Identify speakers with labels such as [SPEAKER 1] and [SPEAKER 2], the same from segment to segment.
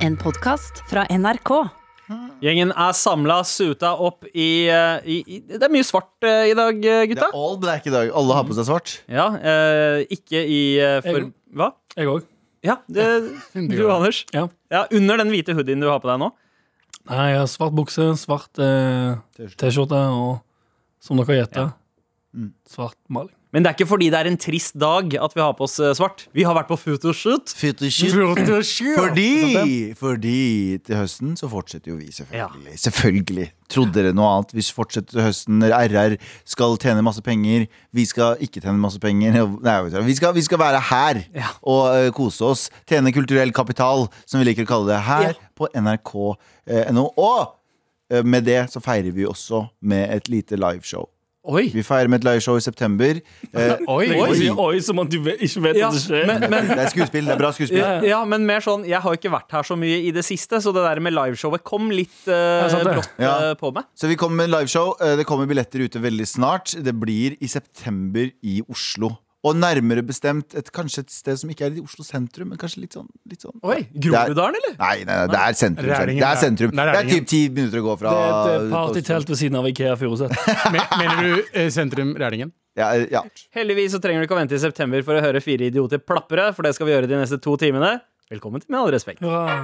[SPEAKER 1] En podkast fra NRK.
[SPEAKER 2] Gjengen er samla, suta opp i, eh, i, i Det er mye svart eh, i dag, eh,
[SPEAKER 3] Det
[SPEAKER 2] gutta.
[SPEAKER 3] er all black i dag. Alle har på seg svart.
[SPEAKER 2] Ja, eh, ikke i eh, for...
[SPEAKER 4] Jeg-
[SPEAKER 2] Hva?
[SPEAKER 4] Jeg òg.
[SPEAKER 2] Ja, det, du, Anders.
[SPEAKER 4] Ja.
[SPEAKER 2] Ja, Under den hvite hoodien du har på deg nå.
[SPEAKER 4] Nei, jeg har svart bukse, svart eh, T-skjorte og, som dere gjetta, svart maling.
[SPEAKER 2] Men det er ikke fordi det er en trist dag at vi har på oss eh, svart. Vi har vært på photoshoot.
[SPEAKER 3] Photoshoot. Fordi, Sånn, fordi til høsten så fortsetter jo vi, selvfølgelig. Selvfølgelig. Trodde dere noe annet? Vi fortsetter til høsten. RR skal tjene masse penger. Vi skal ikke tjene masse penger. Nei, vet du hva. vi, skal, vi skal være her og eh, kose oss. Tjene kulturell kapital, som vi liker å kalle det, her
[SPEAKER 2] Ja.
[SPEAKER 3] på nrk.no. og eh, med det så feirer vi også med et lite liveshow.
[SPEAKER 2] Oi.
[SPEAKER 3] Vi feirer med et liveshow i september. Eh,
[SPEAKER 4] Oi,
[SPEAKER 3] oi.
[SPEAKER 4] oi, som at du ve- ikke vet
[SPEAKER 2] Ja,
[SPEAKER 4] at det skjer.
[SPEAKER 2] men, men,
[SPEAKER 3] det er skuespill. Det er bra skuespill.
[SPEAKER 2] ja, ja, men mer sånn Jeg har jo ikke vært her så mye i det siste, så det der med liveshowet kom litt eh,
[SPEAKER 4] Ja, sant det.
[SPEAKER 2] brått
[SPEAKER 3] Ja.
[SPEAKER 2] eh, på meg.
[SPEAKER 3] Så vi kommer med en liveshow. Eh, Det kommer billetter ute veldig snart. Det blir i september i Oslo. Og nærmere bestemt et, kanskje et sted som ikke er i Oslo sentrum, men kanskje litt sånn, litt sånn.
[SPEAKER 2] Oi, Groruddalen, eller?
[SPEAKER 3] Nei, nei, nei, det er sentrum.
[SPEAKER 5] Det er
[SPEAKER 3] Det er,
[SPEAKER 5] Rælingen, det er-
[SPEAKER 3] sentrum.
[SPEAKER 5] det
[SPEAKER 3] Det
[SPEAKER 5] er
[SPEAKER 3] er
[SPEAKER 5] Rælingen.
[SPEAKER 3] typ ti minutter å gå fra
[SPEAKER 4] det er et eh,
[SPEAKER 3] Oslo.
[SPEAKER 4] partytelt ved siden av Ikea Furuset.
[SPEAKER 5] Men, mener du eh, sentrum Rælingen?
[SPEAKER 3] Ja, eh, ja.
[SPEAKER 2] Heldigvis så trenger du ikke å vente i september for å høre fire idioter plapre, for det skal vi gjøre de neste to timene. Velkommen til Med all respekt.
[SPEAKER 4] Hurra.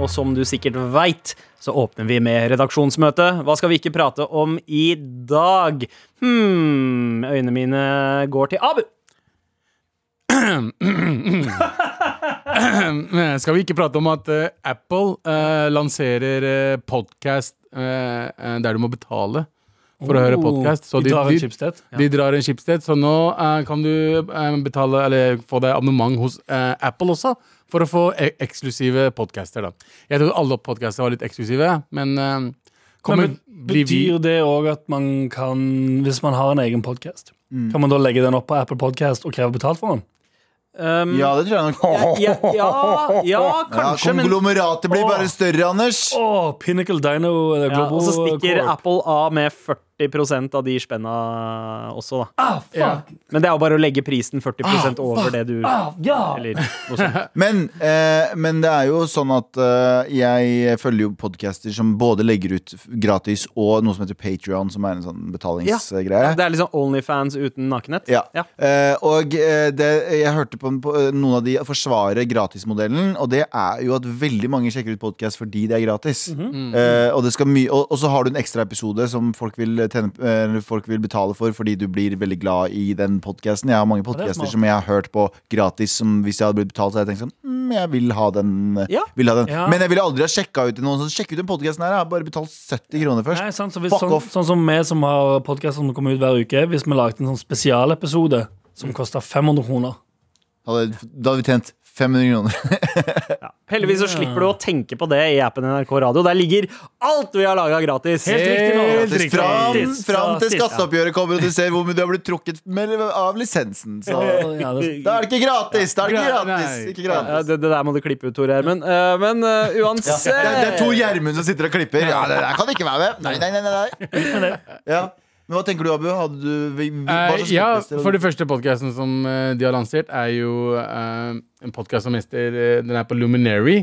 [SPEAKER 2] Og som du sikkert veit, så åpner vi med redaksjonsmøte. Hva skal vi ikke prate om i dag? Hm Øynene mine går til Abu.
[SPEAKER 5] Eh, Skal vi ikke prate om at eh, Apple eh, lanserer eh, podcast eh, eh, der du må betale for å høre podcast? Så
[SPEAKER 4] Vi
[SPEAKER 5] de,
[SPEAKER 4] drar Oh, en
[SPEAKER 5] de,
[SPEAKER 4] chipsted.
[SPEAKER 5] de drar en chipsted, så nå eh, kan du eh, betale eller få deg abonnement hos eh, Apple også. For å få e eksklusive podcaster, da. Jeg trodde alle podcaster var litt eksklusive, men eh, kommer,
[SPEAKER 4] Men
[SPEAKER 5] blir vi
[SPEAKER 4] betyr det òg at man kan, hvis man har en egen podkast, kan man da legge den opp på Apple Podcast og kreve betalt for den?
[SPEAKER 2] Um,
[SPEAKER 3] ja, det tror jeg nok.
[SPEAKER 2] ja, ja, ja,
[SPEAKER 3] Ja,
[SPEAKER 2] kanskje, men
[SPEAKER 3] konglomeratet blir bare større, Anders.
[SPEAKER 4] Å, Pinnacle Dino eh,
[SPEAKER 2] ja,
[SPEAKER 4] Global
[SPEAKER 2] Og så stikker
[SPEAKER 4] Corp.
[SPEAKER 2] Apple av med 40 av de spenna også, da.
[SPEAKER 4] Ah, fuck!
[SPEAKER 5] Ja.
[SPEAKER 2] Men det er jo bare å legge prisen 40 over det du
[SPEAKER 4] Ah, ja!
[SPEAKER 2] Eller noe sånt.
[SPEAKER 3] Men, eh, men det er jo sånn at eh, jeg følger jo podcaster som både legger ut gratis og noe som heter Patreon som er en sånn betalingsgreie.
[SPEAKER 2] Det er liksom Onlyfans uten nakenhet.
[SPEAKER 3] Ja.
[SPEAKER 2] Ja.
[SPEAKER 3] Eh, og eh, det, jeg hørte på, en- på eh, noen av de forsvare gratismodellen, og det er jo at veldig mange sjekker ut podkast fordi det er gratis.
[SPEAKER 4] Mhm.
[SPEAKER 3] Eh, og, det skal mye- og, og så har du en ekstra episode som folk vil, tjene, eh, eller folk vil betale for fordi du blir veldig glad i den podkasten. Jeg har mange
[SPEAKER 4] det er
[SPEAKER 3] podkaster
[SPEAKER 4] smart.
[SPEAKER 3] som jeg har hørt på gratis, som hvis jeg hadde blitt betalt, så hadde jeg tenkt sånn mm, Jeg vil ha den. eh,
[SPEAKER 2] Ja.
[SPEAKER 3] Vil ha den.
[SPEAKER 4] Ja.
[SPEAKER 3] Men jeg ville aldri ha sjekka ut til noen sånn Sjekk ut den podkasten her, jeg har bare betalt 70 kroner først.
[SPEAKER 4] Nei, sant, så hvis,
[SPEAKER 3] Fuck
[SPEAKER 4] sånn,
[SPEAKER 3] off.
[SPEAKER 4] sånn som vi som har podkast som kommer ut hver uke, hvis vi lagde en sånn spesialepisode som kosta 500 kroner
[SPEAKER 3] Hadde, da hadde vi tjent 500 kroner.
[SPEAKER 2] Heldigvis så slipper du å tenke på det i appen NRK Radio. Der ligger alt vi har laga gratis.
[SPEAKER 4] Helt riktig nå.
[SPEAKER 3] Helt riktig. Fram,
[SPEAKER 4] Gratis.
[SPEAKER 3] fram til
[SPEAKER 4] Gratis, ja.
[SPEAKER 3] skatteoppgjøret kommer, og du ser hvor mye du har blitt trukket med, av lisensen. Så
[SPEAKER 4] Ja, det-
[SPEAKER 3] da er det ikke gratis! Da er det ikke
[SPEAKER 5] Nei.
[SPEAKER 3] gratis. Ikke
[SPEAKER 2] Ja,
[SPEAKER 3] gratis.
[SPEAKER 2] det, det der må du klippe ut, Tore Hermen. Eh, men eh, uansett
[SPEAKER 3] Det, er, det er to Gjermund som sitter og klipper. Ja, det der kan det ikke være med. Nei, nei, nei, nei, nei. Ja. Men hva tenker du, Abu? Hadde du vi- vi- hva
[SPEAKER 5] Eh,
[SPEAKER 3] slags
[SPEAKER 5] ja,
[SPEAKER 3] podcaster hadde
[SPEAKER 5] for
[SPEAKER 3] du-
[SPEAKER 5] det første podkasten som eh, de har lansert, er jo eh, en podkast som heter eh, Den er på Luminary.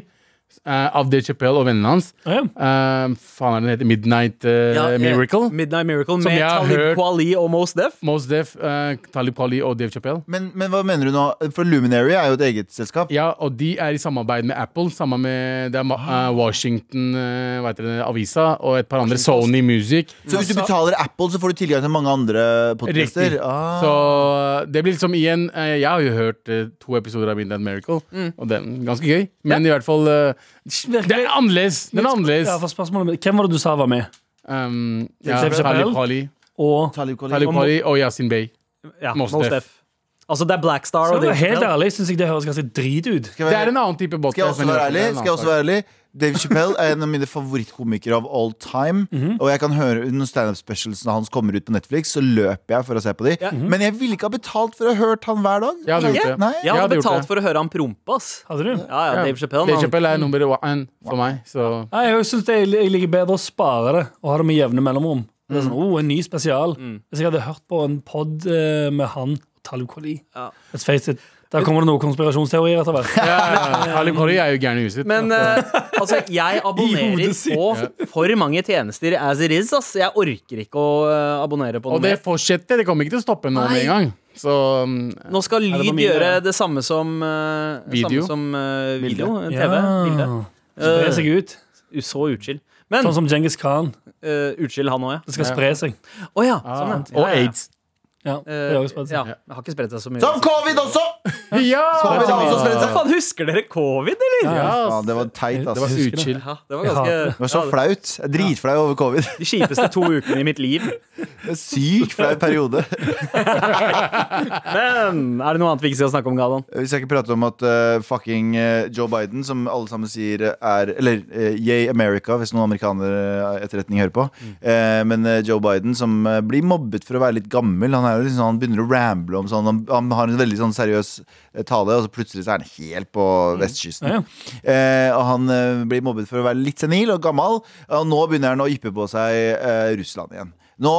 [SPEAKER 5] eh, av Dave Chappelle og vennene hans.
[SPEAKER 4] Ja.
[SPEAKER 5] Eh, faen er den heter Midnight eh,
[SPEAKER 2] Ja, eh,
[SPEAKER 5] Miracle.
[SPEAKER 2] Midnight Miracle
[SPEAKER 5] Som
[SPEAKER 2] med
[SPEAKER 5] jeg har
[SPEAKER 2] Talib
[SPEAKER 5] hørt.
[SPEAKER 2] Kweli og Mos Def.
[SPEAKER 5] Mos Def, eh, Talib Kweli og Dave Chappelle.
[SPEAKER 3] men, men hva mener du nå? For Luminary er jo et eget selskap.
[SPEAKER 5] Ja, og de er i samarbeid med Apple. Sammen med det
[SPEAKER 3] Ah.
[SPEAKER 5] er ma- eh, Washington eh, hva heter det, Avisa og et par andre. Sony Music.
[SPEAKER 3] Så hvis du betaler Apple, så får du tilgang til mange andre Ah, podkaster?
[SPEAKER 5] altså- Riktig. Så det blir liksom igjen eh, Jeg har jo hørt eh, to episoder av Midnight Miracle,
[SPEAKER 3] Mm.
[SPEAKER 5] og den ganske gøy. Men i hvert fall eh,
[SPEAKER 4] Virkelig.
[SPEAKER 5] Den er annerledes! Den er annerledes.
[SPEAKER 4] Ja, for spørsmålet mitt, Hvem var det du sa var med?
[SPEAKER 5] Um, ja,
[SPEAKER 4] Dave Chappelle.
[SPEAKER 5] Talib Kweli
[SPEAKER 4] Og
[SPEAKER 3] Talib Kweli.
[SPEAKER 5] Talib Kweli og Yasin Bey.
[SPEAKER 2] Ja, Mos
[SPEAKER 5] Mos
[SPEAKER 2] Def.
[SPEAKER 5] Def.
[SPEAKER 2] Altså, det er Blackstar.
[SPEAKER 4] så
[SPEAKER 2] Og
[SPEAKER 4] er det
[SPEAKER 2] Dave
[SPEAKER 4] Helt
[SPEAKER 2] Chappelle.
[SPEAKER 4] ærlig syns jeg det høres ganske drit ut.
[SPEAKER 3] Skal jeg
[SPEAKER 5] Det
[SPEAKER 3] være-
[SPEAKER 5] er en annen type
[SPEAKER 3] Skal jeg
[SPEAKER 5] podcast.
[SPEAKER 3] også
[SPEAKER 5] men
[SPEAKER 3] være
[SPEAKER 5] det er
[SPEAKER 3] ærlig?
[SPEAKER 5] en
[SPEAKER 3] Skal jeg
[SPEAKER 5] annen
[SPEAKER 3] også være ærlig? Dave Chappelle er en av mine favorittkomikere av all time. Og jeg kan høre når standup-specialsene hans kommer ut på Netflix, så løper jeg for å se på de. Men jeg ville ikke ha betalt for å ha hørt han hver dag.
[SPEAKER 5] Jeg hadde gjort det.
[SPEAKER 3] Nei.
[SPEAKER 2] Jeg
[SPEAKER 5] Jeg
[SPEAKER 2] hadde
[SPEAKER 5] hadde gjort
[SPEAKER 2] betalt
[SPEAKER 5] det.
[SPEAKER 2] for å høre han prompe, ass.
[SPEAKER 4] Hadde du?
[SPEAKER 2] Ja, ja,
[SPEAKER 5] sak.
[SPEAKER 2] Dave Chappelle.
[SPEAKER 5] Dave
[SPEAKER 2] han-
[SPEAKER 5] Chappelle er nummer én for meg. Så
[SPEAKER 4] Nei, jeg synes det, jeg liker bedre å spare det og ha det med jevne mellomrom. Det er sånn, oh, en ny spesial Hvis jeg hadde hørt på en pod med han Talib Kweli.
[SPEAKER 2] Ja.
[SPEAKER 4] Let's face it. Der kommer det noen konspirasjonsteorier etter hvert.
[SPEAKER 5] Ja, Ali Kori er jo gæren i huset.
[SPEAKER 2] Men eh, altså, jeg abonnerer på for mange tjenester as it is. Ass. Jeg orker ikke å eh, abonnere på noe
[SPEAKER 5] og det
[SPEAKER 2] mer.
[SPEAKER 5] fortsetter. Det kommer ikke til å stoppe nå med en gang. Så mm,
[SPEAKER 2] Nå skal
[SPEAKER 4] det på
[SPEAKER 2] lyd
[SPEAKER 4] mine-
[SPEAKER 2] gjøre det samme som eh,
[SPEAKER 5] Video?
[SPEAKER 2] Samme som, eh, video
[SPEAKER 3] Bilde.
[SPEAKER 2] TV. Bilde. Eh,
[SPEAKER 4] Spre seg ut.
[SPEAKER 2] U- Så utskill. Men
[SPEAKER 4] Sånn som Djengis Khan.
[SPEAKER 2] eh, utskill han òg, ja.
[SPEAKER 4] Det skal
[SPEAKER 5] Ja.
[SPEAKER 4] spre seg.
[SPEAKER 2] Å ja. Sånn,
[SPEAKER 5] ah,
[SPEAKER 2] ja.
[SPEAKER 5] Og aids.
[SPEAKER 4] Ja, det
[SPEAKER 2] Eh,
[SPEAKER 4] har jo spredt
[SPEAKER 2] ja,
[SPEAKER 4] seg.
[SPEAKER 2] det har ikke spredt seg så mye.
[SPEAKER 3] Som covid også!
[SPEAKER 5] Ja!
[SPEAKER 3] Covid har også spredt
[SPEAKER 2] Hva
[SPEAKER 3] seg.
[SPEAKER 2] faen, husker dere covid, eller?
[SPEAKER 5] Ja,
[SPEAKER 3] Ja,
[SPEAKER 5] ass.
[SPEAKER 3] det var teit,
[SPEAKER 5] Det var
[SPEAKER 3] ass.
[SPEAKER 4] husker det.
[SPEAKER 5] utskill.
[SPEAKER 2] Ja, det var
[SPEAKER 4] Jeg
[SPEAKER 2] ganske
[SPEAKER 4] hater det.
[SPEAKER 3] Det var så
[SPEAKER 2] ja,
[SPEAKER 3] flaut. Jeg er Dritflau over covid.
[SPEAKER 2] De kjipeste to ukene i mitt liv.
[SPEAKER 3] Det er en Sykt flau periode.
[SPEAKER 2] Men er det noe annet vi ikke skal snakke om, Galvan?
[SPEAKER 3] Vi skal ikke prate om at eh, fucking eh, Joe Biden, som alle sammen sier eh, er Eller eh, yay America, hvis noen amerikanere eh, etterretning hører på.
[SPEAKER 4] Mm.
[SPEAKER 3] Eh, men eh, Joe Biden, som eh, blir mobbet for å være litt gammel, han, er jo liksom, han begynner å ramble om sånn. Han, han har en veldig sånn seriøs eh, tale, og så plutselig så er han helt på vestkysten.
[SPEAKER 4] Mm. Ja, ja.
[SPEAKER 3] Eh, og han eh, blir mobbet for å være litt senil og gammel, og nå begynner han å yppe på seg eh, Russland igjen. Nå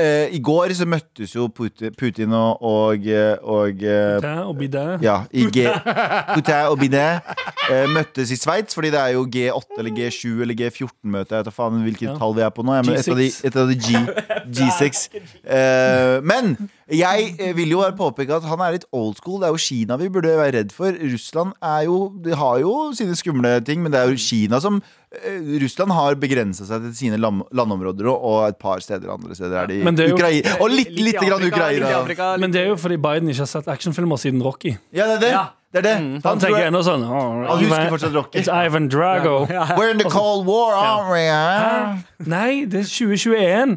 [SPEAKER 3] eh, I går så møttes jo Putin, Putin og, og, eh, og eh,
[SPEAKER 4] Der og bli der.
[SPEAKER 3] ja, i G Putin og Binet eh, møttes i Sveits, fordi det er jo G8 eller G7 eller G14-møte. Jeg vet da faen hvilket
[SPEAKER 4] Ja.
[SPEAKER 3] tall vi er på nå. Jeg, men et av de,
[SPEAKER 4] G6.
[SPEAKER 3] et av de G, G6. Eh, men jeg eh, vil jo bare påpeke at han er litt old school. Det er jo Kina vi burde være redd for. Russland er jo, de har jo sine skumle ting, men det er jo Kina som eh, Russland har begrensa seg til sine lam- landområder og, og et par steder andre steder. Er de
[SPEAKER 4] Men det er jo-
[SPEAKER 3] Ukrai- Og litt,
[SPEAKER 2] i
[SPEAKER 3] lite grann
[SPEAKER 2] Afrika, litt i
[SPEAKER 3] Ukraina.
[SPEAKER 2] Afrika, litt-
[SPEAKER 4] Men det er jo fordi Biden ikke har sett actionfilmer siden Rocky.
[SPEAKER 3] Ja, det er det.
[SPEAKER 2] Ja.
[SPEAKER 3] det, er det.
[SPEAKER 4] Så
[SPEAKER 3] tror
[SPEAKER 4] han tenker
[SPEAKER 3] jeg-
[SPEAKER 4] ennå sånn
[SPEAKER 3] han
[SPEAKER 4] Han
[SPEAKER 3] husker fortsatt Rocky.
[SPEAKER 4] It's Ivan Drago.
[SPEAKER 3] We're in the Cold War, aren't we? huh?
[SPEAKER 4] Nei, det er 2021!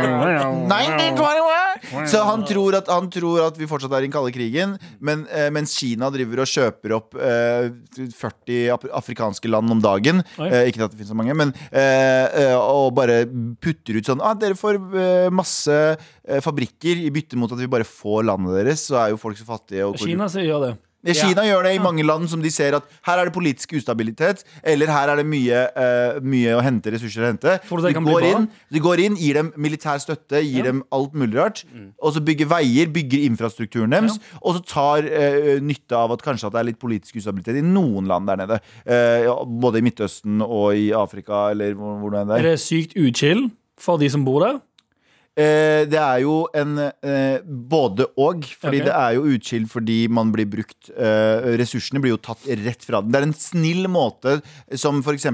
[SPEAKER 4] Nei,
[SPEAKER 3] 1921. Så han tror, at, han tror at vi fortsatt er i den kalde krigen, men, eh, mens Kina driver og kjøper opp eh, 40 ap- afrikanske land om dagen.
[SPEAKER 4] Oi.
[SPEAKER 3] Eh, ikke at det finnes så mange, men eh, eh, Og bare putter ut sånn ah, Dere får eh, masse eh, fabrikker i bytte mot at vi bare får landet deres. Så er jo folk så fattige. Og korrupt.
[SPEAKER 4] Kina sier gjør det.
[SPEAKER 3] Ja, Kina gjør det i mange land som de ser at her er det politisk ustabilitet, eller her er det mye, eh, mye å hente, ressurser å hente.
[SPEAKER 4] Tror du det
[SPEAKER 3] de,
[SPEAKER 4] kan bli
[SPEAKER 3] går
[SPEAKER 4] bra?
[SPEAKER 3] inn, de går inn, gir dem militær støtte, gir dem alt mulig rart.
[SPEAKER 4] Mm.
[SPEAKER 3] Og så bygger veier, bygger infrastrukturen deres, og så tar eh, nytte av at kanskje at det er litt politisk ustabilitet i noen land der nede. Eh, ja, både i Midtøsten og i Afrika, eller hvor, hvor det enn
[SPEAKER 4] Er
[SPEAKER 3] er.
[SPEAKER 4] det sykt uchill for de som bor der?
[SPEAKER 3] Eh, det er jo en eh, både og. Fordi
[SPEAKER 4] Ok.
[SPEAKER 3] det er jo utskilt fordi man blir brukt eh, Ressursene blir jo tatt rett fra den. Det er en snill måte som f.eks.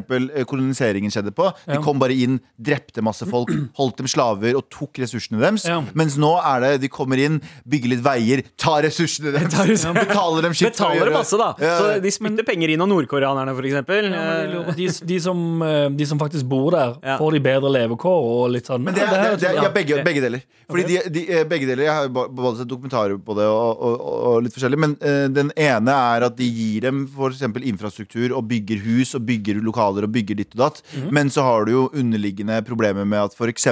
[SPEAKER 3] koloniseringen skjedde på. De
[SPEAKER 4] Ja.
[SPEAKER 3] kom bare inn, drepte masse folk, holdt dem slaver og tok ressursene deres.
[SPEAKER 4] Ja.
[SPEAKER 3] Mens nå er det de kommer inn, bygger litt veier, tar ressursene deres, betaler dem skitt. for å
[SPEAKER 2] Betaler
[SPEAKER 3] gjøre-
[SPEAKER 2] det masse, da.
[SPEAKER 3] Ja.
[SPEAKER 2] Så de spytter penger inn av nordkoreanerne, for eksempel.
[SPEAKER 4] De, de, som, eh, de som faktisk bor der,
[SPEAKER 2] Ja.
[SPEAKER 4] får de bedre levekår og litt sånn
[SPEAKER 3] Men det er,
[SPEAKER 4] ja,
[SPEAKER 3] det
[SPEAKER 4] her
[SPEAKER 3] er, det er, ja,
[SPEAKER 4] uchill.
[SPEAKER 3] begge, begge deler. Fordi de, de, eh, begge deler Jeg har jo ba- både sett dokumentarer på det og, og, og- og litt forskjellig. Men eh, den ene er at de gir dem f.eks. infrastruktur og bygger hus og bygger lokaler og bygger ditt og datt.
[SPEAKER 4] Mhm.
[SPEAKER 3] Men så har du jo underliggende problemer med at f.eks.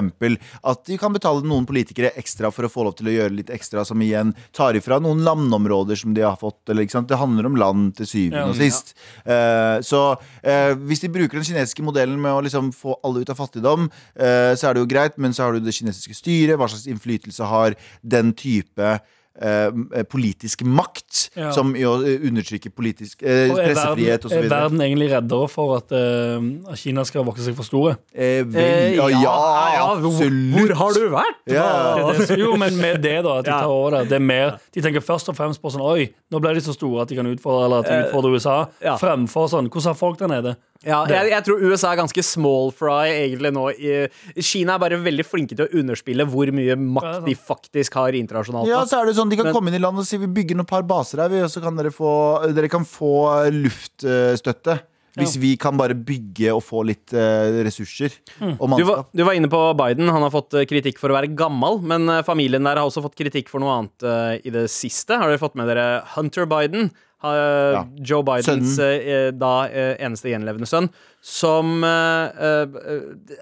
[SPEAKER 3] at de kan betale noen politikere ekstra for å få lov til å gjøre litt ekstra, som igjen tar ifra noen landområder som de har fått. Eller, ikke sant? Det handler om land til syvende
[SPEAKER 4] Ja.
[SPEAKER 3] og sist. Eh, så eh, hvis de bruker den kinesiske modellen med å liksom få alle ut av fattigdom, eh, så er det jo greit, men så har du det kinesiske styret. Hva slags innflytelse har den type eh, m- eh, politisk makt
[SPEAKER 4] Ja.
[SPEAKER 3] som jo eh, undertrykker politisk eh,
[SPEAKER 4] Og er
[SPEAKER 3] pressefrihet
[SPEAKER 4] verden, er
[SPEAKER 3] osv.?
[SPEAKER 4] verden egentlig reddere for at eh, at Kina skal vokse seg for store?
[SPEAKER 3] Eh, vel, ja, ja, absolutt!
[SPEAKER 2] Hvor har du vært?
[SPEAKER 3] Ja.
[SPEAKER 4] Det er det som- Jo, men med det, da. At de
[SPEAKER 2] Ja.
[SPEAKER 4] tar over det. det er mer, de tenker først og fremst på sånn Oi, nå ble de så store at de kan utfordre, eller at de utfordrer USA.
[SPEAKER 2] ja.
[SPEAKER 4] Fremfor sånn Hvordan har folk der nede?
[SPEAKER 2] Ja, jeg, jeg tror USA er ganske small fry egentlig nå. I- Kina er bare veldig flinke til å underspille hvor mye
[SPEAKER 4] Ja,
[SPEAKER 2] makt
[SPEAKER 4] det
[SPEAKER 2] de
[SPEAKER 4] er
[SPEAKER 2] faktisk har internasjonalt.
[SPEAKER 3] Ja,
[SPEAKER 2] da.
[SPEAKER 3] så er det sånn De kan
[SPEAKER 2] Men-
[SPEAKER 3] komme inn i landet og si vi bygger noen par baser her, vi, og så kan dere få, dere kan få luftstøtte. eh, Hvis vi kan bare bygge og få litt eh, ressurser og
[SPEAKER 2] Mm. Du var,
[SPEAKER 3] mannskap.
[SPEAKER 2] du var inne på Biden. Han har fått eh, kritikk for å være gammel. Men eh, familien der har også fått kritikk for noe annet eh, i det siste. Har dere fått med dere Hunter Biden? Ha- eh,
[SPEAKER 3] Ja.
[SPEAKER 2] Joe Bidens eh, eh, da eh, eneste gjenlevende sønn. Som eh, eh,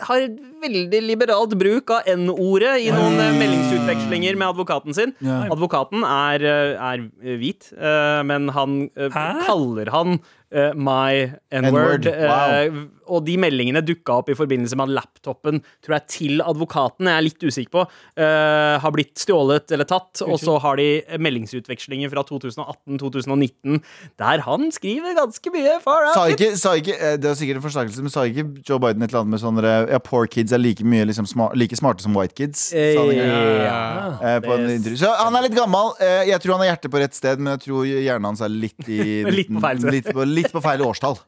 [SPEAKER 2] har et veldig liberalt bruk av N-ordet i noen eh, meldingsutvekslinger med advokaten sin.
[SPEAKER 3] Ja.
[SPEAKER 2] Advokaten er, eh, er hvit, eh, men han eh,
[SPEAKER 4] Hæ?
[SPEAKER 2] kaller han eh, eh, my N-word.
[SPEAKER 3] N-word, wow.
[SPEAKER 2] eh, og de meldingene dukka opp i forbindelse med at laptopen tror jeg, til advokaten, jeg er litt usikker på, eh, har blitt stjålet eller tatt. Og så har de meldingsutvekslingen fra 2018-2019 der han skriver ganske mye. Far
[SPEAKER 3] Sa
[SPEAKER 2] out.
[SPEAKER 3] ikke, sa ikke, eh, det var sikkert en forstakelse, men sa ikke Joe Biden et eller annet med sånn der, Ja, poor kids er like mye liksom, sma- like smarte som white kids? Sa han en gang.
[SPEAKER 2] Ja.
[SPEAKER 3] Eh, på en
[SPEAKER 2] Det-
[SPEAKER 3] intervju. Så han er litt gammel. Eh, Jeg tror han har hjertet på rett sted, men jeg tror hjernen hans er litt i
[SPEAKER 2] Litt på feil sted.
[SPEAKER 3] litt på, litt på feil årstall.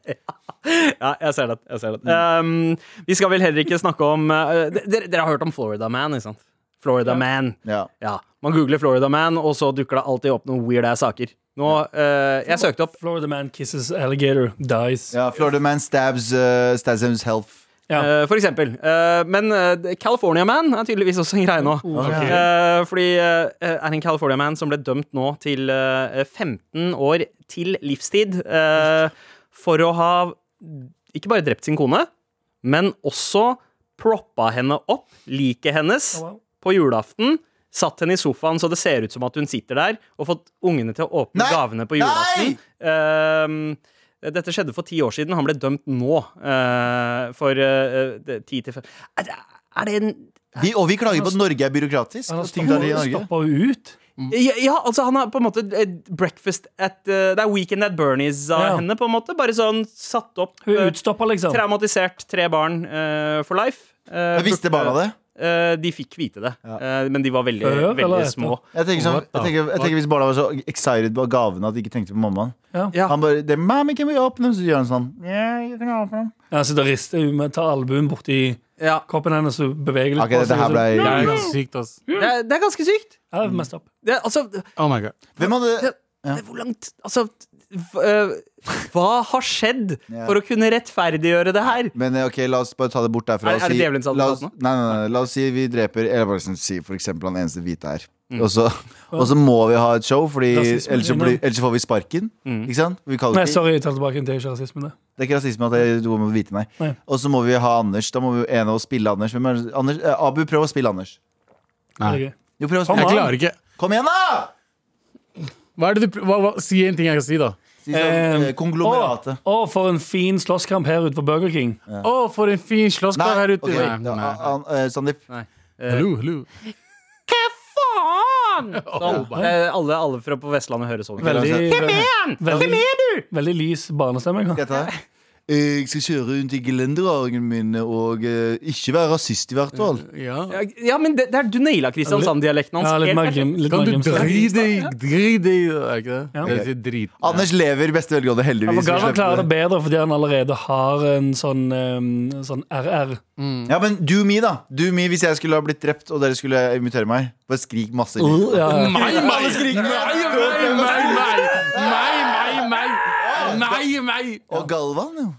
[SPEAKER 2] Ja, jeg ser det. Jeg ser det.
[SPEAKER 3] Mm.
[SPEAKER 2] Um, vi skal vel heller ikke snakke om uh, d- dere, dere har hørt om Florida Man, ikke sant? Florida Man.
[SPEAKER 3] Ja.
[SPEAKER 2] Ja. Man googler Florida Man, og så dukker det alltid opp noen weird ass saker. Nå, uh, Jeg søkte opp.
[SPEAKER 4] Florida man kisses alligator, dies.
[SPEAKER 3] ja Florida man stabs uh, Stabs him's health.
[SPEAKER 4] Ja.
[SPEAKER 2] Uh, for eksempel. Uh, men uh, California Man er tydeligvis også en greie nå.
[SPEAKER 3] Ok.
[SPEAKER 2] Uh, fordi uh, er en California Man som ble dømt nå til uh, 15 år til livstid uh, for å ha ikke bare drept sin kone, men også proppa henne opp, liket hennes,
[SPEAKER 4] wow.
[SPEAKER 2] på julaften. Satt henne i sofaen så det ser ut som at hun sitter der, og fått ungene til å åpne
[SPEAKER 3] Nei!
[SPEAKER 2] gavene på julaften. Ehm, dette skjedde for ti år siden. Han ble dømt nå eh, for eh, det- ti til fem Er det- Er det en
[SPEAKER 3] Vi, og vi klager på at Norge er byråkratisk.
[SPEAKER 4] Han
[SPEAKER 3] og ting der i Norge.
[SPEAKER 4] stoppa jo ut.
[SPEAKER 2] Ja, ja, altså han har på en måte eh, breakfast at eh, Det er Weekend at Bernies av
[SPEAKER 4] Ja.
[SPEAKER 2] henne, på en måte. Bare sånn satt opp.
[SPEAKER 4] Hun
[SPEAKER 2] eh,
[SPEAKER 4] er utstoppa, liksom.
[SPEAKER 2] Traumatisert. Tre barn eh, for life. Eh,
[SPEAKER 3] Jeg visste barna det.
[SPEAKER 2] Eh, de fikk vite det, Eh, men de var veldig,
[SPEAKER 4] Før eller
[SPEAKER 2] veldig
[SPEAKER 4] etter?
[SPEAKER 2] små.
[SPEAKER 3] Jeg tenker, sånn, jeg, tenker, jeg tenker Hvis barna var så excited på gavene at de ikke tenkte på mammaen
[SPEAKER 4] Ja.
[SPEAKER 2] Ja.
[SPEAKER 3] Han bare det, Mammy, can we open them? Så gjør han sånn. Yeah, you can open them.
[SPEAKER 4] Ja, Han sitter og rister, hun tar albuen borti
[SPEAKER 2] Ja.
[SPEAKER 4] kroppen hennes og beveger litt.
[SPEAKER 3] Ok, dette her ble-
[SPEAKER 5] Det er sykt, ass.
[SPEAKER 2] Det, er, det er ganske sykt.
[SPEAKER 4] Ja, det er messed up.
[SPEAKER 2] Det, er- altså, det,
[SPEAKER 5] Oh my god.
[SPEAKER 3] Hvem hadde
[SPEAKER 2] det, hvor langt Altså v- eh, Hva har skjedd
[SPEAKER 3] Ja.
[SPEAKER 2] for å kunne rettferdiggjøre det her?
[SPEAKER 3] Men eh, ok, la oss bare ta det bort derfra.
[SPEAKER 2] Er-
[SPEAKER 3] og
[SPEAKER 2] er det
[SPEAKER 3] si-
[SPEAKER 2] djevelens advokat
[SPEAKER 3] la oss,
[SPEAKER 2] nå?
[SPEAKER 3] Nei, nei, nei, la oss si vi dreper Eller bare sånn si for eksempel han eneste hvite her.
[SPEAKER 2] Mm.
[SPEAKER 3] Og, så, og så må vi ha et show, Fordi
[SPEAKER 4] Rasisme,
[SPEAKER 3] ellers, så
[SPEAKER 4] ja.
[SPEAKER 3] blir, ellers så får vi sparken. Ikke sant? Vi kaller
[SPEAKER 4] Nei,
[SPEAKER 3] det ikke-
[SPEAKER 4] sorry, jeg tar tilbake. Det er ikke rasisme, det.
[SPEAKER 3] det er ikke rasisme at jeg, du må vite meg.
[SPEAKER 4] Nei.
[SPEAKER 3] Og så må vi ha Anders. Da må vi en av oss spille Anders. Hvem er, det? Anders eh, Abu, prøv å spille Anders.
[SPEAKER 5] Nei.
[SPEAKER 4] Det er gøy.
[SPEAKER 3] Jo, prøv å
[SPEAKER 5] Jeg
[SPEAKER 3] spille
[SPEAKER 5] klarer ikke.
[SPEAKER 3] Kom igjen, da!
[SPEAKER 5] Hva er det du, pr- hva, hva, si en ting jeg kan si, da.
[SPEAKER 3] Si sånn,
[SPEAKER 4] Eh,
[SPEAKER 3] eh, konglomeratet.
[SPEAKER 4] Å, for en fin slåsskamp her ute på Burger King.
[SPEAKER 5] Å, for en fin slåsskamp her ute.
[SPEAKER 3] ok,
[SPEAKER 5] Nei,
[SPEAKER 3] da,
[SPEAKER 5] nei.
[SPEAKER 3] an- eh, Sandeep.
[SPEAKER 5] Hallo, hallo.
[SPEAKER 2] Hva faen?! Sånn. Eh, alle, alle fra på Vestlandet hører sånn.
[SPEAKER 4] Veldig,
[SPEAKER 2] igjen!
[SPEAKER 4] veldig,
[SPEAKER 2] er du?
[SPEAKER 4] veldig lys barnestemme. jeg har.
[SPEAKER 3] Dette her. Eh, Jeg skal kjøre rundt i gelenderhagen min og eh, ikke være rasist i hvert fall.
[SPEAKER 5] Ja.
[SPEAKER 2] Ja, men det, det er du naila Kristiansand-dialekten hans.
[SPEAKER 4] Ja, litt
[SPEAKER 2] Helt
[SPEAKER 4] margrim. Litt
[SPEAKER 5] Kan du
[SPEAKER 4] margrim-
[SPEAKER 5] drite deg Drit deg eh, Er det ikke det?
[SPEAKER 4] Ja.
[SPEAKER 5] Det sier drit.
[SPEAKER 3] Anders lever i beste velgående,
[SPEAKER 4] Ja,
[SPEAKER 3] heldigvis.
[SPEAKER 4] for
[SPEAKER 3] Vi
[SPEAKER 4] Galvan
[SPEAKER 3] slipper
[SPEAKER 4] klarer
[SPEAKER 3] det.
[SPEAKER 4] det bedre fordi han allerede har en sånn, eh, sånn RR.
[SPEAKER 3] Ja, men do me, da. Do me hvis jeg skulle ha blitt drept og dere skulle invitere meg. Bare skrik masse.
[SPEAKER 4] Uh, ja.
[SPEAKER 5] Nei, nei, nei, nei, nei, nei, nei, nei, nei, nei, nei.
[SPEAKER 3] Og Galvan, jo.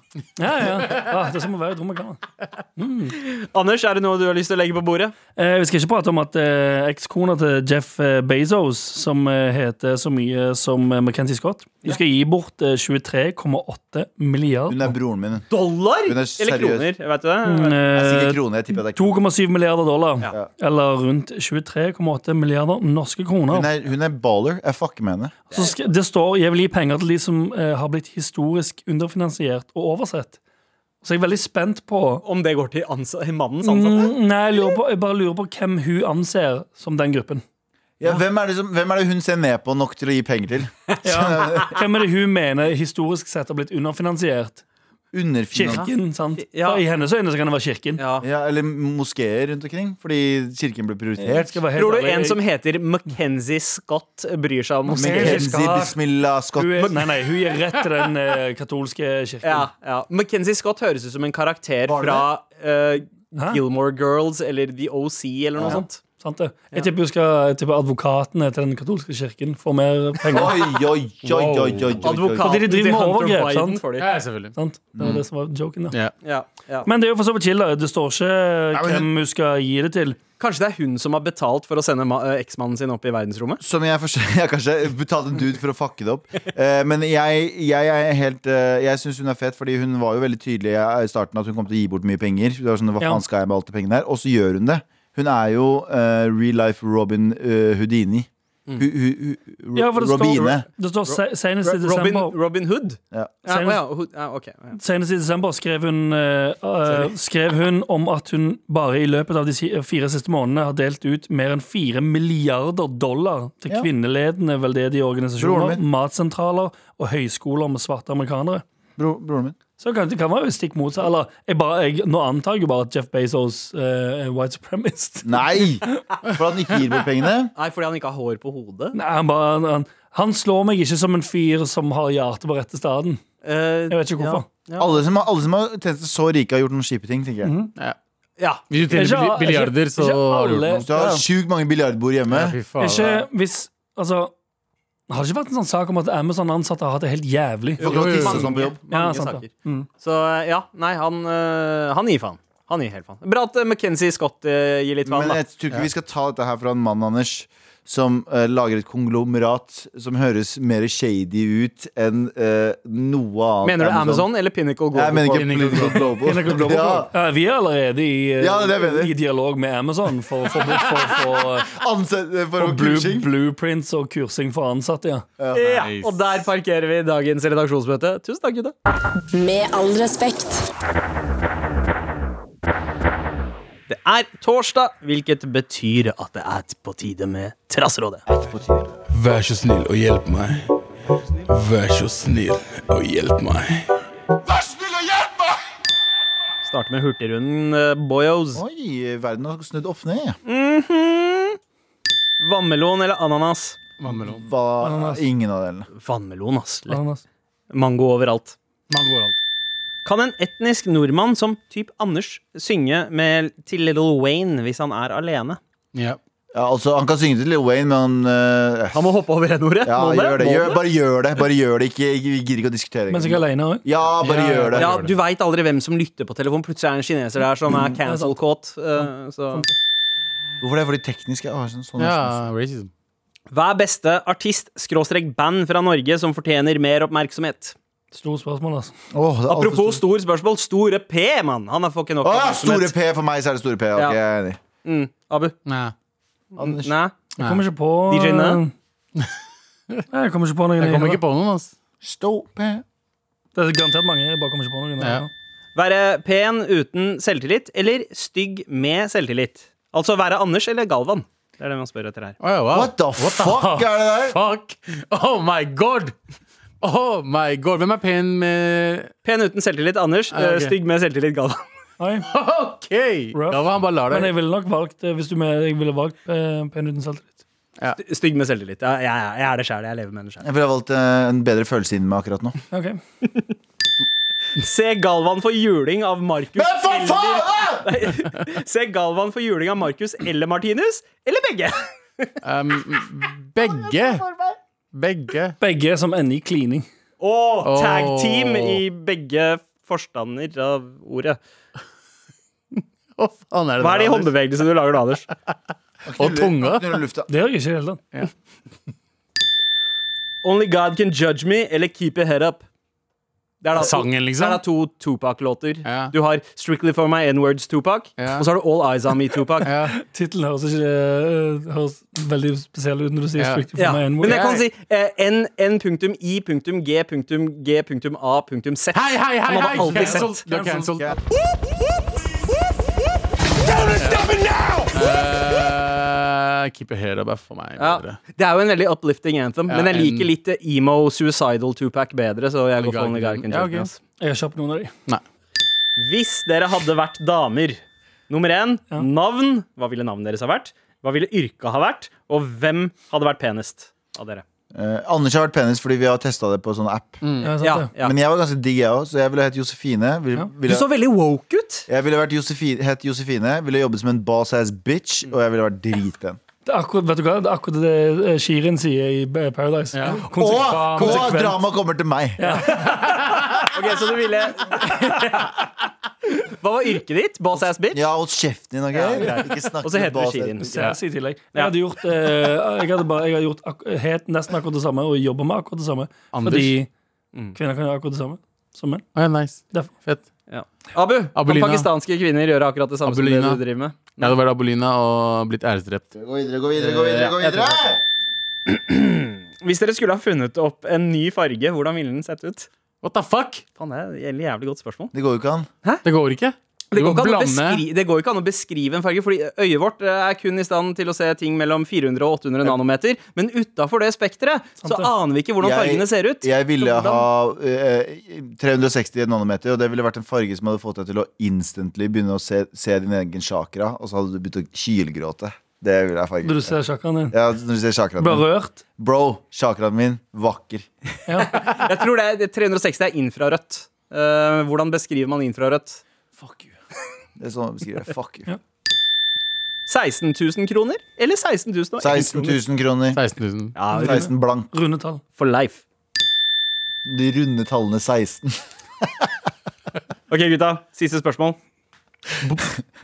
[SPEAKER 4] Ja, ja. Ja, det er som å være i et rom med Galvan.
[SPEAKER 2] perfekt. Anders, er det noe du har lyst til å legge på bordet?
[SPEAKER 4] Eh, vi skal ikke prate om at eh, ekskona til Jeff eh, Bezos, som eh, heter så mye som eh, Mackenzie Scott Hun skal gi bort eh, 23,8
[SPEAKER 3] Hun
[SPEAKER 4] milliarder.
[SPEAKER 3] er broren min. hun.
[SPEAKER 2] Dollar?
[SPEAKER 3] Hun er
[SPEAKER 2] Eller
[SPEAKER 3] seriøs.
[SPEAKER 2] kroner? Vet du det?
[SPEAKER 3] Det er sikkert
[SPEAKER 4] Eh,
[SPEAKER 3] krone, jeg tipper det er krone.
[SPEAKER 4] 2,7 milliarder dollar.
[SPEAKER 2] Ja.
[SPEAKER 4] Eller rundt 23,8 milliarder norske kroner.
[SPEAKER 3] Hun er, hun er baller. Jeg fucker med henne.
[SPEAKER 4] Så sk- det står 'Jeg vil gi penger til de som eh, har blitt historisk underfinansiert og oversett'. Så jeg er veldig spent på
[SPEAKER 2] Om det går til sånn ansa mannens ansatte?
[SPEAKER 4] Mm, Nei, jeg, lurer på, jeg bare lurer på hvem hun anser som den gruppen.
[SPEAKER 3] Ja, hvem, er det som, hvem er det hun ser ned på nok til å gi penger til?
[SPEAKER 4] Hvem er det hun mener historisk sett har blitt underfinansiert?
[SPEAKER 3] Underfinansiering.
[SPEAKER 4] Kirken, sant?
[SPEAKER 2] Ja.
[SPEAKER 4] I hennes øyne så kan det være kirken.
[SPEAKER 2] Ja.
[SPEAKER 3] Ja, eller moskeer rundt omkring, fordi kirken ble prioritert.
[SPEAKER 4] Eh, Skal jeg være helt
[SPEAKER 2] Tror du
[SPEAKER 4] ærlig,
[SPEAKER 2] en
[SPEAKER 4] jeg-
[SPEAKER 2] som heter Mackenzie Scott, bryr seg om
[SPEAKER 3] Mackenzie Bismillah
[SPEAKER 4] hun
[SPEAKER 3] Scott.
[SPEAKER 4] er, Nei, nei, hun gir rett til den eh, katolske kirken.
[SPEAKER 2] Ja, ja. Mackenzie Scott høres ut som en karakter
[SPEAKER 3] Var det
[SPEAKER 2] fra eh,
[SPEAKER 4] Hæ?
[SPEAKER 2] Gilmore Girls eller The OC eller noe sånt.
[SPEAKER 4] Sant det? Jeg tipper hun skal jeg tipper advokatene til den katolske kirken får mer penger.
[SPEAKER 3] Oi, oi, oi, oi, oi, oi, oi, oi.
[SPEAKER 2] Advokaten
[SPEAKER 4] Fordi de driver med
[SPEAKER 2] til Hunter
[SPEAKER 4] overgrep,
[SPEAKER 2] Biden
[SPEAKER 4] sant?
[SPEAKER 2] får de.
[SPEAKER 5] Ja, selvfølgelig.
[SPEAKER 4] Sant? Det
[SPEAKER 2] Mm.
[SPEAKER 4] var det som var joken, da.
[SPEAKER 5] Ja.
[SPEAKER 2] Ja, ja.
[SPEAKER 4] Men det er jo for så vidt chill. da. Det står ikke
[SPEAKER 3] men hun-
[SPEAKER 4] hvem hun skal gi det til.
[SPEAKER 2] Kanskje det er hun som har betalt for å sende ma- eh, eksmannen sin opp i verdensrommet?
[SPEAKER 3] Som jeg forstår Jeg har kanskje betalt en dude for å fucke det opp. Eh, men jeg, jeg er helt eh, Jeg syns hun er fet, fordi hun var jo veldig tydelig i starten at hun kom til å gi bort mye penger. Det var sånn, hva
[SPEAKER 4] Ja.
[SPEAKER 3] faen skal jeg med alt det pengene der Og så gjør hun det. Hun er jo eh, real life Robin eh, Houdini. Hu- hu- hu-
[SPEAKER 4] Mm. Ja, for det
[SPEAKER 3] Robine.
[SPEAKER 4] står, det står se- senest i
[SPEAKER 2] Robin,
[SPEAKER 4] desember
[SPEAKER 2] Robin Hood?
[SPEAKER 3] Ja.
[SPEAKER 2] Ja,
[SPEAKER 4] Senest-
[SPEAKER 2] å ja, Hood- ja, ok, ja.
[SPEAKER 4] Senest i desember skrev hun, eh, eh, skrev hun om at hun bare i løpet av de si- fire siste månedene har delt ut mer enn fire milliarder dollar til
[SPEAKER 3] Ja.
[SPEAKER 4] kvinneledende veldedige organisasjoner,
[SPEAKER 3] Broren min.
[SPEAKER 4] matsentraler og høyskoler med svarte amerikanere.
[SPEAKER 3] Bro, broren min.
[SPEAKER 4] Så kan, det kan være jo stikk motsatt. Eller jeg bare, jeg, nå antar jeg jo bare at Jeff Bezos eh, er white supremacist.
[SPEAKER 3] Nei! For at han ikke gir bort pengene.
[SPEAKER 2] Nei, fordi han ikke har hår på hodet?
[SPEAKER 4] Nei, han, bare, han, han slår meg ikke som en fyr som har hjertet på rette staden.
[SPEAKER 2] Eh,
[SPEAKER 4] Jeg vet ikke hvorfor.
[SPEAKER 2] Ja.
[SPEAKER 3] Alle som, har- alle som har tjent seg så rike, har gjort noen kjipe ting. tenker jeg
[SPEAKER 4] Mm.
[SPEAKER 2] Ja.
[SPEAKER 5] Hvis du tjener
[SPEAKER 4] Ikke-
[SPEAKER 5] billi- billiarder, så
[SPEAKER 4] ikke
[SPEAKER 5] har du gjort
[SPEAKER 4] alle-
[SPEAKER 5] noe.
[SPEAKER 3] Hvis du har
[SPEAKER 4] Ja.
[SPEAKER 3] sjukt mange biljardbord hjemme
[SPEAKER 5] Ja, fy faen.
[SPEAKER 4] Ikke hvis Altså, har det ikke vært en sånn sak om at Amazon-ansatte har hatt det helt jævlig?
[SPEAKER 3] Får ikke lov til å
[SPEAKER 5] Jo, jo, jo.
[SPEAKER 3] tisse og sånn på jobb.
[SPEAKER 2] mange
[SPEAKER 4] Ja, Mm. sant det.
[SPEAKER 2] saker. Så ja, nei, han, eh, han gir faen. Han gir helt faen. Bra at eh, McKenzie Scott eh, gir litt faen,
[SPEAKER 3] Men
[SPEAKER 2] da.
[SPEAKER 3] jeg tror ikke vi skal ta dette her fra en mann, Anders, som eh, lager et konglomerat som høres mer shady ut enn eh, noe annet. sånn-
[SPEAKER 2] Mener du Amazon eller Pinnacle Global?
[SPEAKER 3] Jeg mener ikke
[SPEAKER 5] Pinnacle
[SPEAKER 3] Political Global. Ja,
[SPEAKER 4] Ja, vi er allerede i, eh,
[SPEAKER 3] Ja, det er bedre.
[SPEAKER 4] i dialog med Amazon for å få for, for, for,
[SPEAKER 3] ansett eh, for å
[SPEAKER 4] blue,
[SPEAKER 3] kursing.
[SPEAKER 4] blueprints og kursing for ansatte. Ja.
[SPEAKER 2] Ja, og der parkerer vi dagens redaksjonsmøte. Tusen takk, gutta.
[SPEAKER 1] Med all respekt.
[SPEAKER 2] Det er torsdag, hvilket betyr at det er på tide med Trasserådet.
[SPEAKER 6] Vær så snill og hjelp meg. Vær så snill
[SPEAKER 3] Oh,
[SPEAKER 6] og hjelp meg.
[SPEAKER 2] Starter med hurtigrunden, eh, boyos.
[SPEAKER 3] Oi, verden har snudd opp ned.
[SPEAKER 2] Vannmelon eller ananas?
[SPEAKER 5] Vannmelon.
[SPEAKER 3] Hva, ingen av delene.
[SPEAKER 2] Vannmelon, ass. Lett.
[SPEAKER 4] Ananas.
[SPEAKER 2] Mango overalt.
[SPEAKER 5] Mango og alt.
[SPEAKER 2] Kan en etnisk nordmann som typ Anders synge med, til Little Wayne hvis han er alene?
[SPEAKER 5] Ja.
[SPEAKER 3] Ja, altså, han kan synge til Lil Wayne, men han eh,
[SPEAKER 2] Han må hoppe over N-ordet.
[SPEAKER 3] Ja,
[SPEAKER 2] må han
[SPEAKER 3] gjør det.
[SPEAKER 2] Må
[SPEAKER 3] Gjør,
[SPEAKER 2] han
[SPEAKER 3] bare gjør det. Bare gjør det. Ikke, ikke, vi gidder ikke å diskutere
[SPEAKER 4] Mens jeg er
[SPEAKER 3] engang.
[SPEAKER 4] alene òg.
[SPEAKER 3] Ja, bare
[SPEAKER 5] Ja,
[SPEAKER 3] gjør det.
[SPEAKER 2] Ja, du veit aldri hvem som lytter på telefonen. Plutselig er det en kineser der som er cancel caught. eh, så.
[SPEAKER 3] Hvorfor det? Fordi teknisk ja, sånn, sånn,
[SPEAKER 5] ja,
[SPEAKER 3] sånn.
[SPEAKER 5] racism.
[SPEAKER 2] Hva er beste artist-band fra Norge som fortjener mer oppmerksomhet?
[SPEAKER 4] Stort spørsmål, altså.
[SPEAKER 3] Åh, det er altfor
[SPEAKER 2] Apropos
[SPEAKER 3] stort.
[SPEAKER 2] stor spørsmål. Store P, mann! Han er får ikke nok
[SPEAKER 3] Å, ja, store
[SPEAKER 2] oppmerksomhet.
[SPEAKER 3] P. For meg så er det store P. Ok,
[SPEAKER 2] Ja.
[SPEAKER 3] jeg er enig.
[SPEAKER 2] Mm, Abu?
[SPEAKER 5] Nei.
[SPEAKER 3] Anders.
[SPEAKER 2] Nei?
[SPEAKER 4] Jeg kommer ikke på
[SPEAKER 2] DJ Nø?
[SPEAKER 4] eh, Nei, jeg kommer ikke på noen.
[SPEAKER 5] Jeg kommer ikke på noen, ass.
[SPEAKER 3] Store P.
[SPEAKER 4] Det er garantert mange. Jeg bare kommer ikke på noen.
[SPEAKER 5] Ja.
[SPEAKER 2] Være pen uten selvtillit eller stygg med selvtillit? Altså være Anders eller Galvan? Det er det man spør etter her.
[SPEAKER 5] Oh, wow.
[SPEAKER 3] What the fuck er det der?
[SPEAKER 5] Fuck! Oh my god! Oh my god, Hvem er pen med
[SPEAKER 2] Pen uten selvtillit, Anders.
[SPEAKER 5] Ja, ok.
[SPEAKER 2] Eh, Stygg med selvtillit, Galvan.
[SPEAKER 4] Oi.
[SPEAKER 5] OK!
[SPEAKER 4] Rough.
[SPEAKER 5] Da var han bare lar
[SPEAKER 4] Men
[SPEAKER 5] deg.
[SPEAKER 4] jeg ville nok valgt eh, Hvis du med, jeg ville valgt eh, pen uten selvtillit.
[SPEAKER 2] Stygg med selvtillit. Ja, jeg, er- jeg er det sjæl. Jeg lever med det sjæl.
[SPEAKER 3] Jeg ville ha valgt eh, en bedre følelse inni meg akkurat nå.
[SPEAKER 4] Ok.
[SPEAKER 2] Se Galvan få juling av Markus
[SPEAKER 3] Men for faen! Ah! da!
[SPEAKER 2] eller- Se Galvan få juling av Markus eller Martinus, eller begge.
[SPEAKER 5] Um, begge. Begge.
[SPEAKER 4] Begge som ender i klining.
[SPEAKER 2] Og tag team
[SPEAKER 5] Åh.
[SPEAKER 2] i begge forstander av ordet.
[SPEAKER 5] Å, faen er det
[SPEAKER 2] Hva er de
[SPEAKER 5] der, Anders?
[SPEAKER 2] håndbevegelsene du lager da, Anders?
[SPEAKER 5] Og tunga.
[SPEAKER 3] Knuller lufta.
[SPEAKER 4] Det gjør jeg ikke i det hele tatt.
[SPEAKER 2] Only God Can Judge Me eller Keep Your Head Up. Det er da,
[SPEAKER 5] Sangen, liksom?
[SPEAKER 2] Det er da to Tupac-låter.
[SPEAKER 5] Ja.
[SPEAKER 2] Du har Strictly For My N-Words Tupac,
[SPEAKER 5] Ja.
[SPEAKER 2] og så har du All Eyes On Me Tupac.
[SPEAKER 5] Ja.
[SPEAKER 4] Tittelen høres ikke eh, høres veldig spesiell ut når du sier
[SPEAKER 5] Ja.
[SPEAKER 4] strikt
[SPEAKER 2] Ja.
[SPEAKER 4] for meg.
[SPEAKER 2] Men jeg kan
[SPEAKER 5] Jeg-
[SPEAKER 2] si eh, N, N punktum I punktum G punktum G punktum A punktum Z.
[SPEAKER 5] Hei, hei, hei!
[SPEAKER 2] Han
[SPEAKER 5] hei.
[SPEAKER 2] hadde aldri
[SPEAKER 5] Cancelled.
[SPEAKER 2] sett.
[SPEAKER 5] Du er cancelled. Eh, keep your head up er for meg.
[SPEAKER 2] Ja.
[SPEAKER 5] bedre.
[SPEAKER 2] Det er jo en veldig uplifting anthem, men jeg
[SPEAKER 5] en-
[SPEAKER 2] liker litt eh, emo, suicidal Tupac bedre, så jeg går for Only
[SPEAKER 5] Only
[SPEAKER 2] God
[SPEAKER 5] God
[SPEAKER 2] Can
[SPEAKER 5] Can-
[SPEAKER 2] Judge Me.
[SPEAKER 5] ja, ok.
[SPEAKER 2] ass.
[SPEAKER 4] Jeg har kjøpt noen av de.
[SPEAKER 2] Hvis dere hadde vært damer, nummer én navn. Hva ville navnet deres ha vært? Hva ville yrket ha vært? Og hvem hadde vært penest av dere?
[SPEAKER 3] Eh, Anders har vært penis fordi vi har testa det på sånn app.
[SPEAKER 4] Ja, sant,
[SPEAKER 2] Ja,
[SPEAKER 4] det.
[SPEAKER 2] Mm. ja.
[SPEAKER 3] Men jeg var ganske digg, jeg òg, så jeg ville hett Josefine. Vil,
[SPEAKER 2] Du
[SPEAKER 3] ville,
[SPEAKER 2] så veldig woke ut.
[SPEAKER 3] jeg ville vært Josefine, hett Josefine, ville jobbet som en boss ass bitch,
[SPEAKER 2] Mm.
[SPEAKER 3] og jeg ville vært dritpen.
[SPEAKER 4] Det er akkurat, vet du hva? Det er akkurat det eh, Shirin sier i eh, Paradise.
[SPEAKER 5] Ja.
[SPEAKER 4] Konse-
[SPEAKER 3] Og, og
[SPEAKER 4] konsekvent.
[SPEAKER 3] drama kommer til meg!
[SPEAKER 2] Ok, Så du ville Hva var yrket ditt? Boss ass bitch?
[SPEAKER 3] Ja, hold kjeften din, OK? Ikke snakk
[SPEAKER 2] Og så
[SPEAKER 3] med
[SPEAKER 2] heter du
[SPEAKER 3] boss ass-
[SPEAKER 2] Shirin.
[SPEAKER 4] Seriøs i tillegg. Jeg hadde gjort, eh, jeg hadde bare, jeg hadde gjort ak helt nesten akkurat det samme og jobba med akkurat det samme.
[SPEAKER 5] Anders?
[SPEAKER 4] Fordi kvinner kan gjøre akkurat det samme som menn.
[SPEAKER 5] Å, ja, nice.
[SPEAKER 4] Derfor.
[SPEAKER 5] Fett.
[SPEAKER 2] Ja. Abu,
[SPEAKER 5] Abelina.
[SPEAKER 2] kan pakistanske kvinner gjøre akkurat det samme
[SPEAKER 5] Abelina.
[SPEAKER 2] som det du driver med?
[SPEAKER 5] Jeg hadde vært Abolina og blitt æresdrept.
[SPEAKER 3] Gå videre, gå videre, gå videre. gå videre
[SPEAKER 2] Hvis dere skulle ha funnet opp en ny farge, hvordan ville den sett ut?
[SPEAKER 5] What the fuck?
[SPEAKER 2] Faen, det er et jævlig godt spørsmål.
[SPEAKER 3] Det går jo ikke an.
[SPEAKER 5] Det går ikke. Du
[SPEAKER 2] Det går,
[SPEAKER 5] må
[SPEAKER 2] ikke an å
[SPEAKER 5] blande
[SPEAKER 2] beskri- det går ikke an å beskrive en farge, Fordi øyet vårt eh, er kun i stand til å se ting mellom 400 og 800 nanometer. Men utafor det spekteret så
[SPEAKER 4] det.
[SPEAKER 2] aner vi ikke hvordan
[SPEAKER 3] Jeg-
[SPEAKER 2] fargene ser ut.
[SPEAKER 3] Jeg ville
[SPEAKER 2] Så hvordan-
[SPEAKER 3] ha eh, 360 nanometer, og det ville vært en farge som hadde fått deg til å instantly begynne å se, se din egen chakra, og så hadde du begynt å kylgråte. Det ville jeg farge.
[SPEAKER 4] Når du ser sjakkeren din.
[SPEAKER 3] Ja, når du ser chakraen min.
[SPEAKER 4] Berørt.
[SPEAKER 3] Bro, chakraen min, vakker.
[SPEAKER 2] Jeg tror det er, det- 360 er infrarødt. Eh, hvordan beskriver man infrarødt?
[SPEAKER 3] Fuck you. Det er sånn jeg beskriver det. Fuck you.
[SPEAKER 2] 16 000 kroner? Eller 16 000 og 1
[SPEAKER 3] 16
[SPEAKER 2] kroner?
[SPEAKER 3] 000 kroner.
[SPEAKER 5] 16 000.
[SPEAKER 2] Ja, rundt
[SPEAKER 3] 16 blank.
[SPEAKER 4] Runde tall.
[SPEAKER 2] for life.
[SPEAKER 3] De runde tallene 16.
[SPEAKER 2] Ok, gutta. Siste spørsmål. Bo,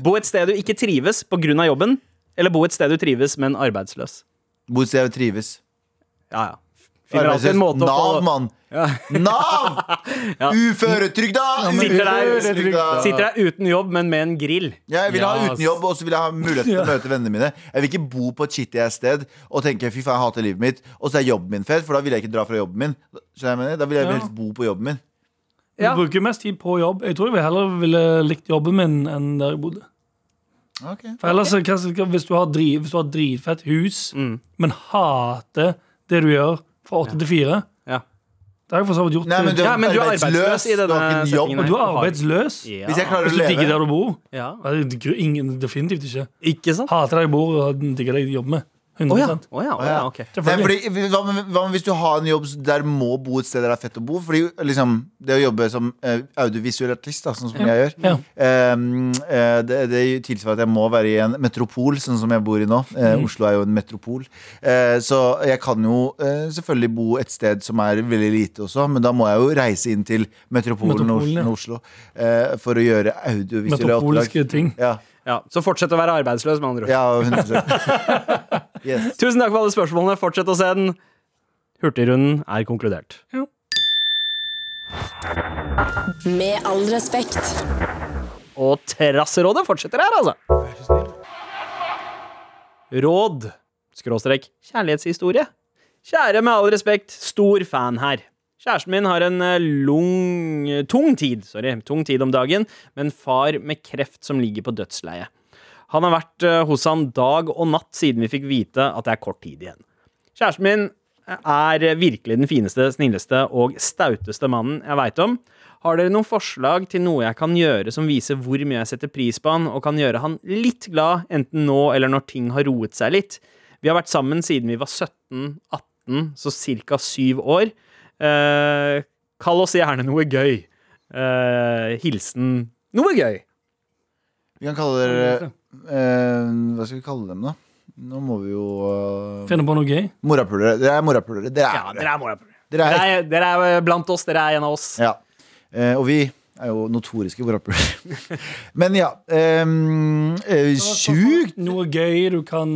[SPEAKER 2] bo et sted du ikke trives pga. jobben, eller bo et sted du trives, men arbeidsløs?
[SPEAKER 3] Hvor skal jeg trives?
[SPEAKER 2] Ja, ja. Finner alltid en måte å
[SPEAKER 3] Nav,
[SPEAKER 2] få
[SPEAKER 3] mann! Nav! Uføretrygda!
[SPEAKER 2] Sitter der-
[SPEAKER 3] Uføretrygda.
[SPEAKER 2] Sitter der uten jobb, men med en grill.
[SPEAKER 3] Jeg vil ha
[SPEAKER 5] Ja,
[SPEAKER 3] uten jobb, og så vil jeg ha mulighet til å møte vennene mine. Jeg vil ikke bo på et shitty ass sted og tenke fy faen, jeg hater livet mitt, og så er jobben min fet, for da vil jeg ikke dra fra jobben min. Skjønner du hva jeg mener? Da vil jeg
[SPEAKER 4] Ja.
[SPEAKER 3] helst bo på jobben min.
[SPEAKER 4] Du
[SPEAKER 2] Ja.
[SPEAKER 4] bruker mest tid på jobb. Jeg tror jeg heller ville likt jobben min enn der jeg bodde. For ellers, hva- hvis, du har dri- hvis du har dritfett hus, men hater det du gjør fra åtte til fire
[SPEAKER 2] Mm. Ja.
[SPEAKER 4] Det har jeg for så vidt gjort. eh,
[SPEAKER 3] Nei, men du,
[SPEAKER 2] Ja, men du er arbeidsløs i
[SPEAKER 3] du har
[SPEAKER 2] denne
[SPEAKER 3] ikke en jobb.
[SPEAKER 2] settingen her.
[SPEAKER 4] du er arbeidsløs.
[SPEAKER 2] Ja.
[SPEAKER 3] Hvis jeg klarer
[SPEAKER 4] Hvis
[SPEAKER 3] å
[SPEAKER 4] du digger
[SPEAKER 3] leve
[SPEAKER 4] der du bor.
[SPEAKER 2] Ja.
[SPEAKER 4] Ja, det digger Ingen, definitivt ikke.
[SPEAKER 2] Ikke sant?
[SPEAKER 4] Hater der jeg bor, og digger det jeg jobber med.
[SPEAKER 2] Å
[SPEAKER 4] 100
[SPEAKER 2] ja. Å ja, å ja, ok.
[SPEAKER 3] Nei,
[SPEAKER 4] Selvfølgelig.
[SPEAKER 3] fordi, hva, med, hva med hvis du har en jobb der må bo et sted der det er fett å bo? Fordi liksom, Det å jobbe som eh, audiovisuell artist, da, sånn som jeg gjør,
[SPEAKER 4] Ja.
[SPEAKER 3] Ehm, eh, det, det tilsvarer at jeg må være i en metropol, sånn som jeg bor i nå. Eh,
[SPEAKER 4] Mm.
[SPEAKER 3] Oslo er jo en metropol. Eh, så jeg kan jo eh, selvfølgelig bo et sted som er veldig lite også, men da må jeg jo reise inn til metropolen
[SPEAKER 4] Metropolen, ja.
[SPEAKER 3] Os- Oslo eh, for å gjøre audiovisuelle oppdrag.
[SPEAKER 4] Metropoliske ting.
[SPEAKER 3] Ja,
[SPEAKER 2] Ja, så fortsett å være arbeidsløs, med andre ord.
[SPEAKER 3] ja 100 yes.
[SPEAKER 2] Tusen takk for alle spørsmålene. Fortsett å se den. Hurtigrunden er konkludert.
[SPEAKER 1] Med all respekt.
[SPEAKER 2] Og Terrasserådet fortsetter her, altså. Råd skråstrek kjærlighetshistorie. Kjære, med all respekt, stor fan her. Kjæresten min har en eh, lung, tung tid sorry, tung tid om dagen, med en far med kreft som ligger på dødsleiet. Han har vært eh, hos han dag og natt siden vi fikk vite at det er kort tid igjen. Kjæresten min er virkelig den fineste, snilleste og stauteste mannen jeg veit om. Har dere noen forslag til noe jeg kan gjøre som viser hvor mye jeg setter pris på han, og kan gjøre han litt glad, enten nå eller når ting har roet seg litt? Vi har vært sammen siden vi var 17-18, så ca. syv år. Eh, kall oss gjerne noe gøy. Eh, hilsen noe gøy.
[SPEAKER 3] Vi kan kalle dere eh, Hva skal vi kalle dem, da? Nå må vi jo uh,
[SPEAKER 4] Finne på noe gøy.
[SPEAKER 3] Morapulere. Dere er morapulere. Dere
[SPEAKER 2] Ja,
[SPEAKER 3] er det.
[SPEAKER 2] dere er morapuler.
[SPEAKER 3] Dere er
[SPEAKER 2] Dere, er- dere er blant oss. Dere er en av oss.
[SPEAKER 3] Ja. Eh, og vi er jo notoriske morapulere. Men ja. ehm, eh, sjukt
[SPEAKER 4] Noe gøy du kan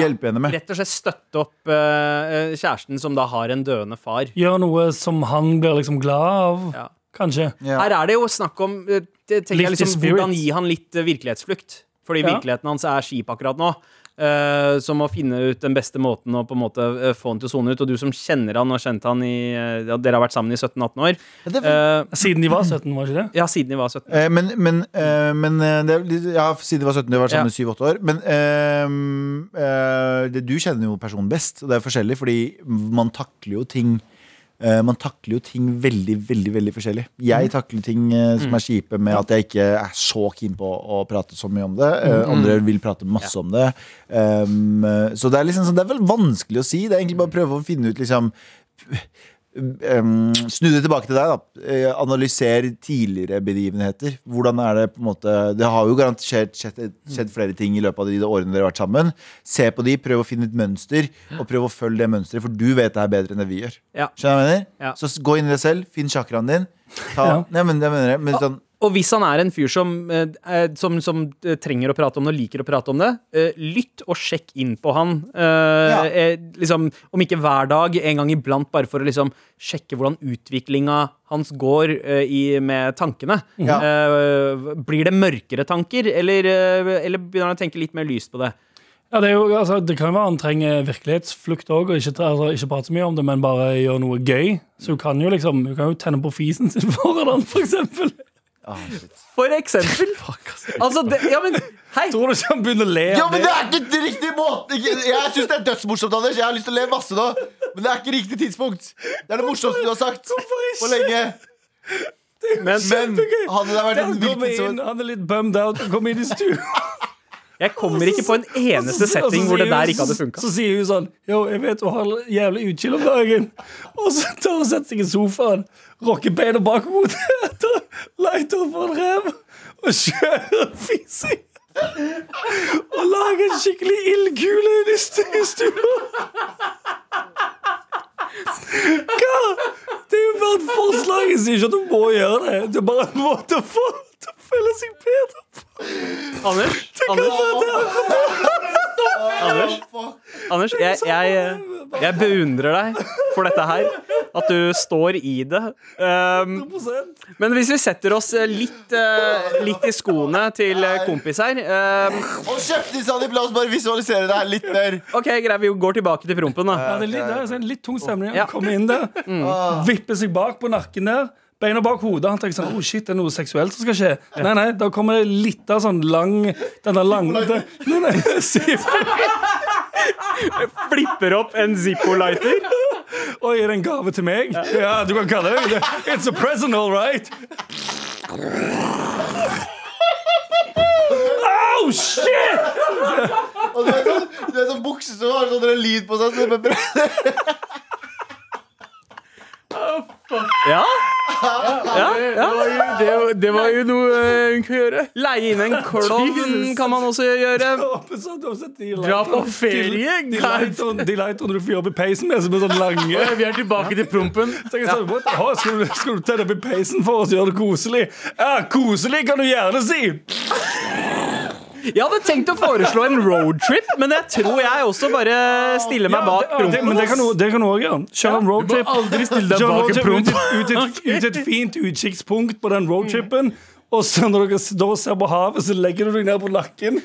[SPEAKER 3] hjelpe henne med.
[SPEAKER 2] Rett og slett støtte opp eh, kjæresten som da har en døende far.
[SPEAKER 4] gjøre noe som han blir liksom glad av.
[SPEAKER 2] Ja.
[SPEAKER 4] Kanskje.
[SPEAKER 3] Ja.
[SPEAKER 2] Her er det jo snakk om eh, det tenker jeg
[SPEAKER 4] Lift
[SPEAKER 2] liksom,
[SPEAKER 4] the spirit.
[SPEAKER 2] Hvordan gi han litt eh, virkelighetsflukt? Fordi
[SPEAKER 4] Ja.
[SPEAKER 2] virkeligheten hans er skip akkurat nå. Eh, så må finne ut den beste måten å på en måte eh, få han til å sone ut. Og du som kjenner han og har kjent han i eh, ja, Dere har vært sammen i 17-18 år.
[SPEAKER 3] Ja, det er fint.
[SPEAKER 2] Eh,
[SPEAKER 4] Siden de var 17, var ikke det?
[SPEAKER 2] ja, siden de var 17.
[SPEAKER 3] Eh, men men, eh, men eh, det er, litt- ja, siden de var 17, de har vært sammen i 7-8 år. Men ehm, eh, det, du kjenner jo personen best, og det er forskjellig, fordi man takler jo ting eh, man takler jo ting veldig veldig, veldig forskjellig. Jeg takler ting eh, som er kjipe med at jeg ikke er så keen på å prate så mye om det. Eh, andre vil prate masse om det. Ehm, eh, så det er, liksom, sånn- det er vel vanskelig å si. Det er egentlig bare å prøve å finne ut liksom um, Snu det tilbake til deg, da. Eh, Analyser tidligere begivenheter. Hvordan er det på en måte Det har jo garantert skjedd, skjedd, skjedd flere ting i løpet av de årene dere har vært sammen. Se på de, prøv å finne et mønster, og prøv å følge det mønsteret, for du vet det her bedre enn det vi gjør.
[SPEAKER 2] Ja.
[SPEAKER 3] Skjønner du hva jeg mener?
[SPEAKER 2] Ja.
[SPEAKER 3] Så s- gå inn i deg selv, finn chakraen din. Ta,
[SPEAKER 4] Ja.
[SPEAKER 3] Nei, men det mener jeg. Men sånn,
[SPEAKER 2] Og hvis han er en fyr som, eh, eh, som, som eh, trenger å prate om det og liker å prate om det, eh, lytt og sjekk inn på han. Eh,
[SPEAKER 3] Ja.
[SPEAKER 2] eh, liksom, om ikke hver dag, en gang iblant, bare for å liksom, sjekke hvordan utviklinga hans går eh, i, med tankene.
[SPEAKER 3] Ja.
[SPEAKER 2] Eh, blir det mørkere tanker, eller, eh, eller begynner han å tenke litt mer lyst på det?
[SPEAKER 4] Ja, det, er jo, altså, det kan jo være han trenger virkelighetsflukt òg, og ikke, ta- altså, ikke prate så mye om det, men bare gjøre noe gøy. Så hun kan jo liksom, hun kan jo tenne på fisen sin foran han, for eksempel.
[SPEAKER 2] For eksempel. Altså, det, ja, men hei!
[SPEAKER 4] Tror du ikke han begynner å le
[SPEAKER 3] Ah! Ja,
[SPEAKER 4] av
[SPEAKER 3] men
[SPEAKER 4] det?
[SPEAKER 3] det er ikke den riktige måten ikke- Jeg syns det er dødsmorsomt, Anders. Jeg har lyst til å le masse nå. Men det er ikke riktig tidspunkt. Det er det morsomste du har sagt på lenge.
[SPEAKER 2] Men
[SPEAKER 3] Men hadde det vært en
[SPEAKER 4] Han kommer
[SPEAKER 3] hvilken som
[SPEAKER 4] inn, han er litt bummed out, han kommer inn i studio.
[SPEAKER 2] jeg kommer
[SPEAKER 4] Altså,
[SPEAKER 2] ikke på en eneste setting hvor det der ikke hadde funka.
[SPEAKER 4] Så sier hun sånn Yo, jeg vet du har jævlig utkild om dagen. Og så tar hun setter seg i sofaen, rocker beina bak hodet, tar lighter på en rev og kjører fising. Og lager en skikkelig ildkule inn i stu- i stua. Hva? Det er jo bare et forslag. Jeg sier ikke at du må gjøre det. Det er bare en måte å få til å føle seg bedre på.
[SPEAKER 2] Anders, Anders, Anders, Anders jeg, jeg, jeg beundrer deg for dette her. At du står i det. Um, men hvis vi setter oss eh, litt, eh, litt i skoene til eh, kompis her um,
[SPEAKER 3] Hold kjeften din, Sandeep. La oss bare visualisere det her litt mer.
[SPEAKER 2] OK, greit, vi går tilbake til prompen, da.
[SPEAKER 4] Ja, det er Mm. litt, det er en litt tung stemning.
[SPEAKER 2] Ja.
[SPEAKER 4] Han kommer inn der, vipper seg bak på nakken der. Beina bak hodet. Han tenker sånn, oh shit, det er noe seksuelt som skal skje. Nei, nei, da kommer det litt av sånn lang Den der lange den- Nei, nei, sier-
[SPEAKER 2] Flipper opp en Zippo-lighter.
[SPEAKER 4] Oi, er det en gave til meg? Ja, du kan kalle det det. It's a present, all right. Oh, shit!
[SPEAKER 3] Og du vet sånn, du vet sånn bukse som har sånn lyd på seg. Så det bare-
[SPEAKER 2] Ja,
[SPEAKER 5] Det var jo, det, var- det var jo noe eh, hun kunne gjøre.
[SPEAKER 2] Leie inn en klovn kan man også gjøre.
[SPEAKER 4] Håper sånn, du har sett de
[SPEAKER 5] Dra på
[SPEAKER 4] lighterne-
[SPEAKER 5] ferie,
[SPEAKER 4] De lighterne de lighterne du får jobbe i peisen med, som er sånn lange.
[SPEAKER 5] Vi er tilbake til prompen.
[SPEAKER 4] Tenker jeg sånn, what? Ha, skal, du, skal du tenne opp i peisen for oss og gjøre det koselig? Ja, koselig kan du gjerne si!
[SPEAKER 2] Jeg hadde tenkt å foreslå en roadtrip, men jeg tror jeg også bare stiller meg bak
[SPEAKER 4] ja, det, men det kan
[SPEAKER 2] prompen.
[SPEAKER 4] du- det kan du òg gjøre. Kjør en roadtrip.
[SPEAKER 5] aldri stille deg
[SPEAKER 4] Kjør en
[SPEAKER 5] bak en
[SPEAKER 4] roadtrip ut,
[SPEAKER 5] promp.
[SPEAKER 4] ut, ut, ut, et fint utkikkspunkt på den roadtripen. Og så når dere s- da ser på havet, så legger du deg ned på nakken.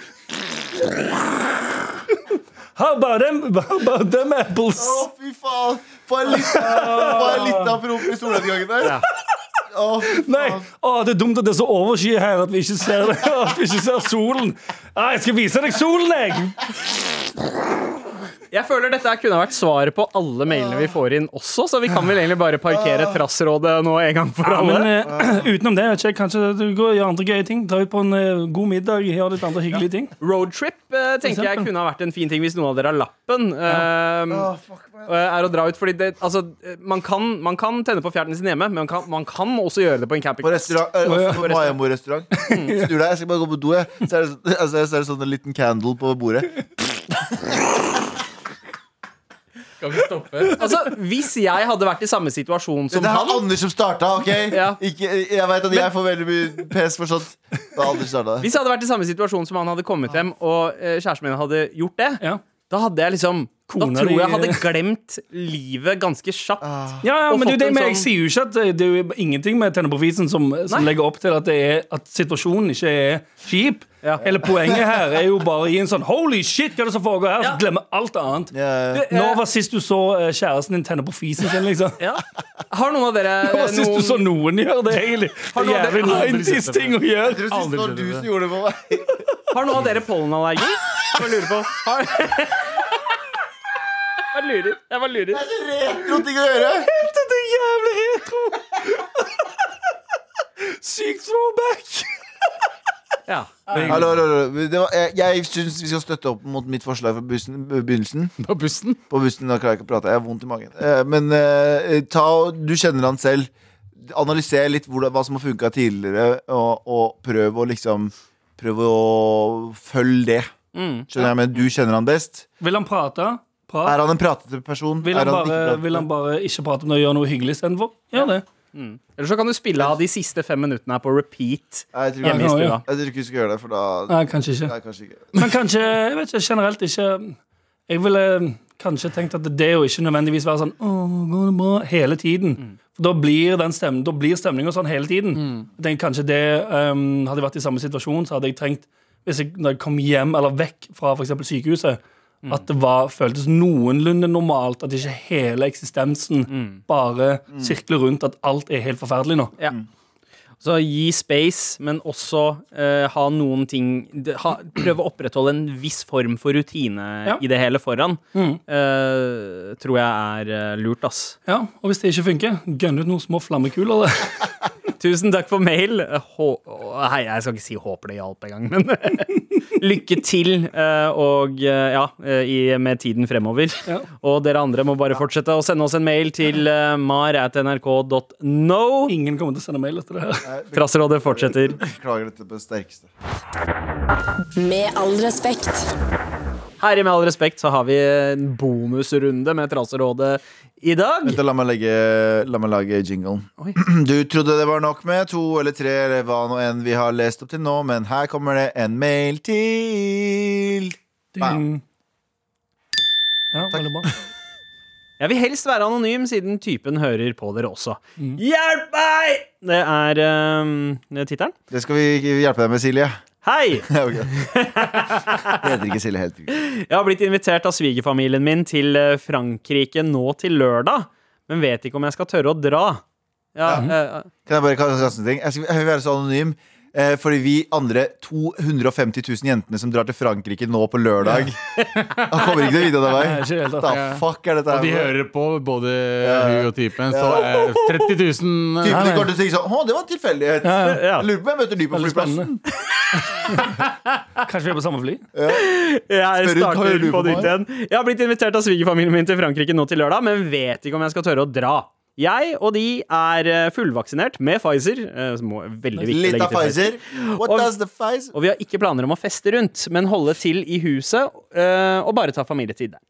[SPEAKER 4] How about them, how about them apples?
[SPEAKER 3] Å, fy faen. Få en liten- få en liten apropos i solnedgangen der. Å, fy faen.
[SPEAKER 4] Nei, å, det er dumt at det er så overskyet her at vi ikke ser det At vi ikke ser solen. Ah, jeg skal vise deg solen, jeg!
[SPEAKER 2] Jeg føler dette her kunne vært svaret på alle mailene vi får inn også, så vi kan vel egentlig bare
[SPEAKER 3] Ah.
[SPEAKER 2] parkere Trassrådet nå en gang for
[SPEAKER 4] Ja, men
[SPEAKER 2] alle.
[SPEAKER 4] eh, utenom det, vet ikke, jeg, kanskje du går og gjør andre gøye ting. Dra ut på en eh, god middag, gjør litt andre hyggelige ting.
[SPEAKER 2] Roadtrip eh, tenker jeg
[SPEAKER 4] eksempel.
[SPEAKER 2] kunne ha vært en fin ting hvis noen av dere har lappen. ehm,
[SPEAKER 3] Ah,
[SPEAKER 2] eh, er å dra ut, fordi det, altså, eh, man, kan, man kan tenne på fjerten sin hjemme, men man kan, man kan også gjøre det på en
[SPEAKER 3] På
[SPEAKER 2] camping.
[SPEAKER 3] restaurant, eh, altså, på Mayamo-restaurant. Snur deg, jeg skal bare gå på do. jeg. Så er det, så- altså, så er det sånn en liten candle på bordet.
[SPEAKER 5] Skal vi stoppe?
[SPEAKER 2] Altså, Hvis jeg hadde vært i samme situasjon som
[SPEAKER 3] det er
[SPEAKER 2] han
[SPEAKER 3] Anders som starta, OK?
[SPEAKER 2] Ja.
[SPEAKER 3] Ikke, jeg vet at jeg får veldig mye pes for sånt. Det var Anders starta det.
[SPEAKER 2] Hvis jeg hadde vært i samme situasjon som han hadde kommet hjem, og eh, kjæresten min hadde gjort det,
[SPEAKER 4] Ja,
[SPEAKER 2] da hadde jeg liksom
[SPEAKER 4] Kona
[SPEAKER 2] Da tror jeg jeg
[SPEAKER 4] di-
[SPEAKER 2] hadde glemt livet ganske kjapt.
[SPEAKER 3] Ah.
[SPEAKER 4] ja, ja
[SPEAKER 2] Og
[SPEAKER 4] men det er jo
[SPEAKER 2] fått
[SPEAKER 4] det
[SPEAKER 2] en
[SPEAKER 4] med, jeg
[SPEAKER 2] sånn-
[SPEAKER 4] sier jo ikke at eh, det, det er jo ingenting med Tenne på fisen som, eh, som
[SPEAKER 2] Nei.
[SPEAKER 4] legger opp til at, det er, at situasjonen ikke er kjip.
[SPEAKER 2] Ja.
[SPEAKER 4] Eller poenget her er jo bare å gi en sånn holy shit, hva er det som foregår her? Så
[SPEAKER 2] Ja.
[SPEAKER 4] glemmer alt annet.
[SPEAKER 3] Ja,
[SPEAKER 4] Når var sist du så eh, kjæresten din tenne på fisen sin, liksom?
[SPEAKER 2] Ja. Har noen av dere
[SPEAKER 4] Når var sist
[SPEAKER 2] noen-
[SPEAKER 4] du så noen gjøre det, egentlig?
[SPEAKER 2] noen-
[SPEAKER 4] Jævlig
[SPEAKER 2] Jeg har aldri
[SPEAKER 4] 90s ting å gjøre.
[SPEAKER 3] Jeg tror sist det var
[SPEAKER 5] Aldri
[SPEAKER 3] du
[SPEAKER 5] skjønte
[SPEAKER 3] som
[SPEAKER 5] det.
[SPEAKER 3] gjorde det på meg.
[SPEAKER 2] Har noen av dere pollenallergi? Jeg bare lurer på. Har... Jeg bare lurer. Jeg bare lurer.
[SPEAKER 3] Det er så retro ting å gjøre.
[SPEAKER 4] Det er jævlig retro! Sykt throwback!
[SPEAKER 2] Ja.
[SPEAKER 3] Hallo, hallo, hallo. Det var, jeg jeg syns vi skal støtte opp mot mitt forslag fra bussen, begynnelsen.
[SPEAKER 5] På bussen?
[SPEAKER 3] På bussen, da klarer jeg ikke å prate. Jeg har vondt i magen. Eh, Men eh, ta, og- du kjenner han selv. Analyser litt hvordan, hva som har funka tidligere, og, og prøv å liksom Prøv å følge det.
[SPEAKER 4] Mm,
[SPEAKER 3] Skjønner jeg, men du kjenner han best.
[SPEAKER 4] Vil han prate?
[SPEAKER 3] Er
[SPEAKER 4] Prat.
[SPEAKER 3] han en pratete person?
[SPEAKER 4] Vil
[SPEAKER 3] er
[SPEAKER 4] han,
[SPEAKER 3] han ikke
[SPEAKER 4] bare,
[SPEAKER 3] pratete?
[SPEAKER 4] vil han bare ikke prate om det og gjøre noe hyggelig istedenfor? Gjør det.
[SPEAKER 2] Eller så kan du spille av de siste fem minuttene her på repeat
[SPEAKER 3] Nei, jeg tror
[SPEAKER 2] hjemme i
[SPEAKER 3] ikke,
[SPEAKER 4] Ja,
[SPEAKER 2] stua.
[SPEAKER 3] jeg tror ikke vi skal gjøre det, for da
[SPEAKER 4] Nei, kanskje ikke.
[SPEAKER 3] Nei, kanskje ikke.
[SPEAKER 4] Men kanskje jeg vet ikke, generelt ikke Jeg ville kanskje tenkt at det å ikke nødvendigvis være sånn Å, går det bra? Hele tiden. For Da blir, den stemmen, da blir stemningen sånn hele tiden. Jeg tenker kanskje det ehm, Hadde jeg vært i samme situasjon, så hadde jeg trengt hvis jeg, når jeg kom hjem eller vekk fra for eksempel sykehuset, at det var, føltes noenlunde normalt. At ikke hele eksistensen bare sirkler rundt at alt er helt forferdelig nå.
[SPEAKER 2] Ja. Så gi space, men også eh, ha noen ting de- ha, Prøve å opprettholde en viss form for rutine
[SPEAKER 4] Ja.
[SPEAKER 2] i det hele foran.
[SPEAKER 4] Mm.
[SPEAKER 2] eh, tror jeg er eh, lurt, ass.
[SPEAKER 4] Ja, Og hvis det ikke funker, gønn ut noen små flammekuler. da.
[SPEAKER 2] Tusen takk for mail. Hå å, hei, jeg skal ikke si håper det hjalp engang, men lykke til eh, og eh, ja, eh, i, med tiden fremover.
[SPEAKER 4] Ja.
[SPEAKER 2] Og dere andre må bare fortsette å sende oss en mail til uh, mar.nrk.no.
[SPEAKER 4] Ingen kommer til å sende mail etter det her.
[SPEAKER 2] Trasserådet fortsetter.
[SPEAKER 3] Beklager dette på det sterkeste.
[SPEAKER 1] Med all respekt.
[SPEAKER 2] Her i Med all respekt så har vi en bonusrunde med Traserådet i dag.
[SPEAKER 3] Vent, da, la, meg legge, la meg lage jinglen.
[SPEAKER 2] Oi.
[SPEAKER 3] Du trodde det var nok med to eller tre eller hva nå enn vi har lest opp til nå, men her kommer det en mail til.
[SPEAKER 4] Ding. Ja, veldig bra.
[SPEAKER 2] Jeg vil helst være anonym, siden typen hører på dere også. Hjelp meg! Det er ehm, det er tittelen.
[SPEAKER 3] Det skal vi hjelpe deg med, Silje.
[SPEAKER 2] Hei!
[SPEAKER 3] Ja, ok. Det heter ikke Silje helt.
[SPEAKER 2] Jeg har blitt invitert av svigerfamilien min til eh, Frankrike nå til lørdag, men vet ikke om jeg skal tørre å dra. Ja, eh,
[SPEAKER 3] Kan jeg bare kaste en sånn ting? Jeg, skal, jeg vil være så anonym. Eh, fordi vi andre 250 000 jentene som drar til Frankrike nå på lørdag Han kommer ikke til å vite at det
[SPEAKER 4] Nei, ikke i
[SPEAKER 3] er
[SPEAKER 4] det hele
[SPEAKER 3] meg.
[SPEAKER 4] tatt.
[SPEAKER 3] Da
[SPEAKER 5] Ja.
[SPEAKER 3] fuck er dette
[SPEAKER 5] Og de
[SPEAKER 3] her?
[SPEAKER 5] hører på både hun og typen, så eh, 30 000 eh,
[SPEAKER 3] Typen
[SPEAKER 4] Nei, nei.
[SPEAKER 3] kommer til å tenke sånn Å, det var en tilfeldighet.
[SPEAKER 2] ja.
[SPEAKER 3] Jeg lurer på om jeg møter ny på
[SPEAKER 4] Veldig
[SPEAKER 3] flyplassen.
[SPEAKER 4] spennende. Kanskje vi er på samme fly?
[SPEAKER 2] eh, Jeg
[SPEAKER 3] Spør ut, hører
[SPEAKER 2] starter
[SPEAKER 3] du
[SPEAKER 2] på
[SPEAKER 3] på
[SPEAKER 2] nytt
[SPEAKER 3] meg?
[SPEAKER 2] igjen. Jeg har blitt invitert av svigerfamilien min til Frankrike nå til lørdag, men vet ikke om jeg skal tørre å dra. Jeg og de er eh, fullvaksinert med Pfizer. eh, som må- Veldig viktig å
[SPEAKER 3] Litt
[SPEAKER 2] legge
[SPEAKER 3] av
[SPEAKER 2] til
[SPEAKER 3] Pfizer. What
[SPEAKER 2] Og-
[SPEAKER 3] does the Pfizer
[SPEAKER 2] Og vi har ikke planer om å feste rundt, men holde til i huset eh, og bare ta familietid der.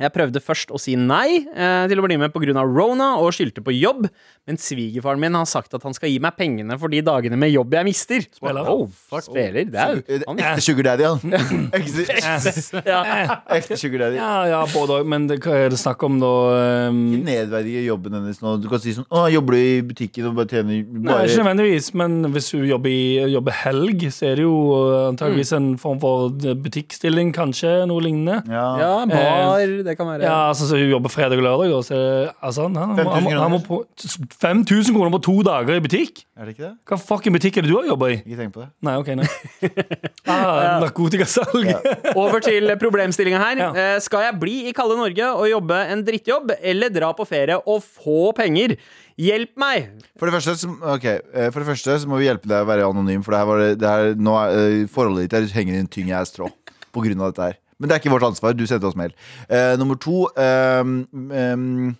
[SPEAKER 2] Jeg prøvde først å si nei eh, til å bli med pga. Rona og skyldte på jobb, men svigerfaren min har sagt at han skal gi meg pengene for de dagene med jobb jeg mister.
[SPEAKER 4] Spiller.
[SPEAKER 2] Oh, fuck, spiller. Det er jo han.
[SPEAKER 3] Ekte sugar daddy, han. Ekte
[SPEAKER 2] Ja.
[SPEAKER 3] ekte sugar daddy.
[SPEAKER 4] Ja, ja, både òg. Men det, hva er det snakk om, da? ehm,
[SPEAKER 3] Nedverdige jobben hennes nå. Du kan si sånn Å, jobber du i butikken og bare tjener
[SPEAKER 4] Nei,
[SPEAKER 3] bare
[SPEAKER 4] ikke nødvendigvis, men hvis hun jobber, i, jobber helg, så er det jo eh, antageligvis en form for butikkstilling, kanskje, noe lignende.
[SPEAKER 3] Ja.
[SPEAKER 2] ja, bar, det kan være.
[SPEAKER 4] Ja, altså så hun jobber fredag og lørdag, og så altså, han, han,
[SPEAKER 3] 5000
[SPEAKER 4] han, må- han må på 5000 kroner på to dager i butikk?
[SPEAKER 3] Er det ikke det?
[SPEAKER 4] Hva fucking butikk er det du har jobba i?
[SPEAKER 3] Ikke tenk på det.
[SPEAKER 4] Nei, ok, nei. Ah, narkotikasalg.
[SPEAKER 2] Over til problemstillinga her.
[SPEAKER 4] Ja.
[SPEAKER 2] Eh, Skal jeg bli i kalde Norge og jobbe en drittjobb, eller dra på ferie og få penger? Hjelp meg!
[SPEAKER 3] For det, første, så, ok, eh, for det første så må vi hjelpe deg å være anonym, for det her var, det- det her, nå er, eh, forholdet ditt her henger i en tyng ass tråd på grunn av dette her. Men det er ikke vårt ansvar. Du sendte oss mail. Eh, nummer to ehm, ehm,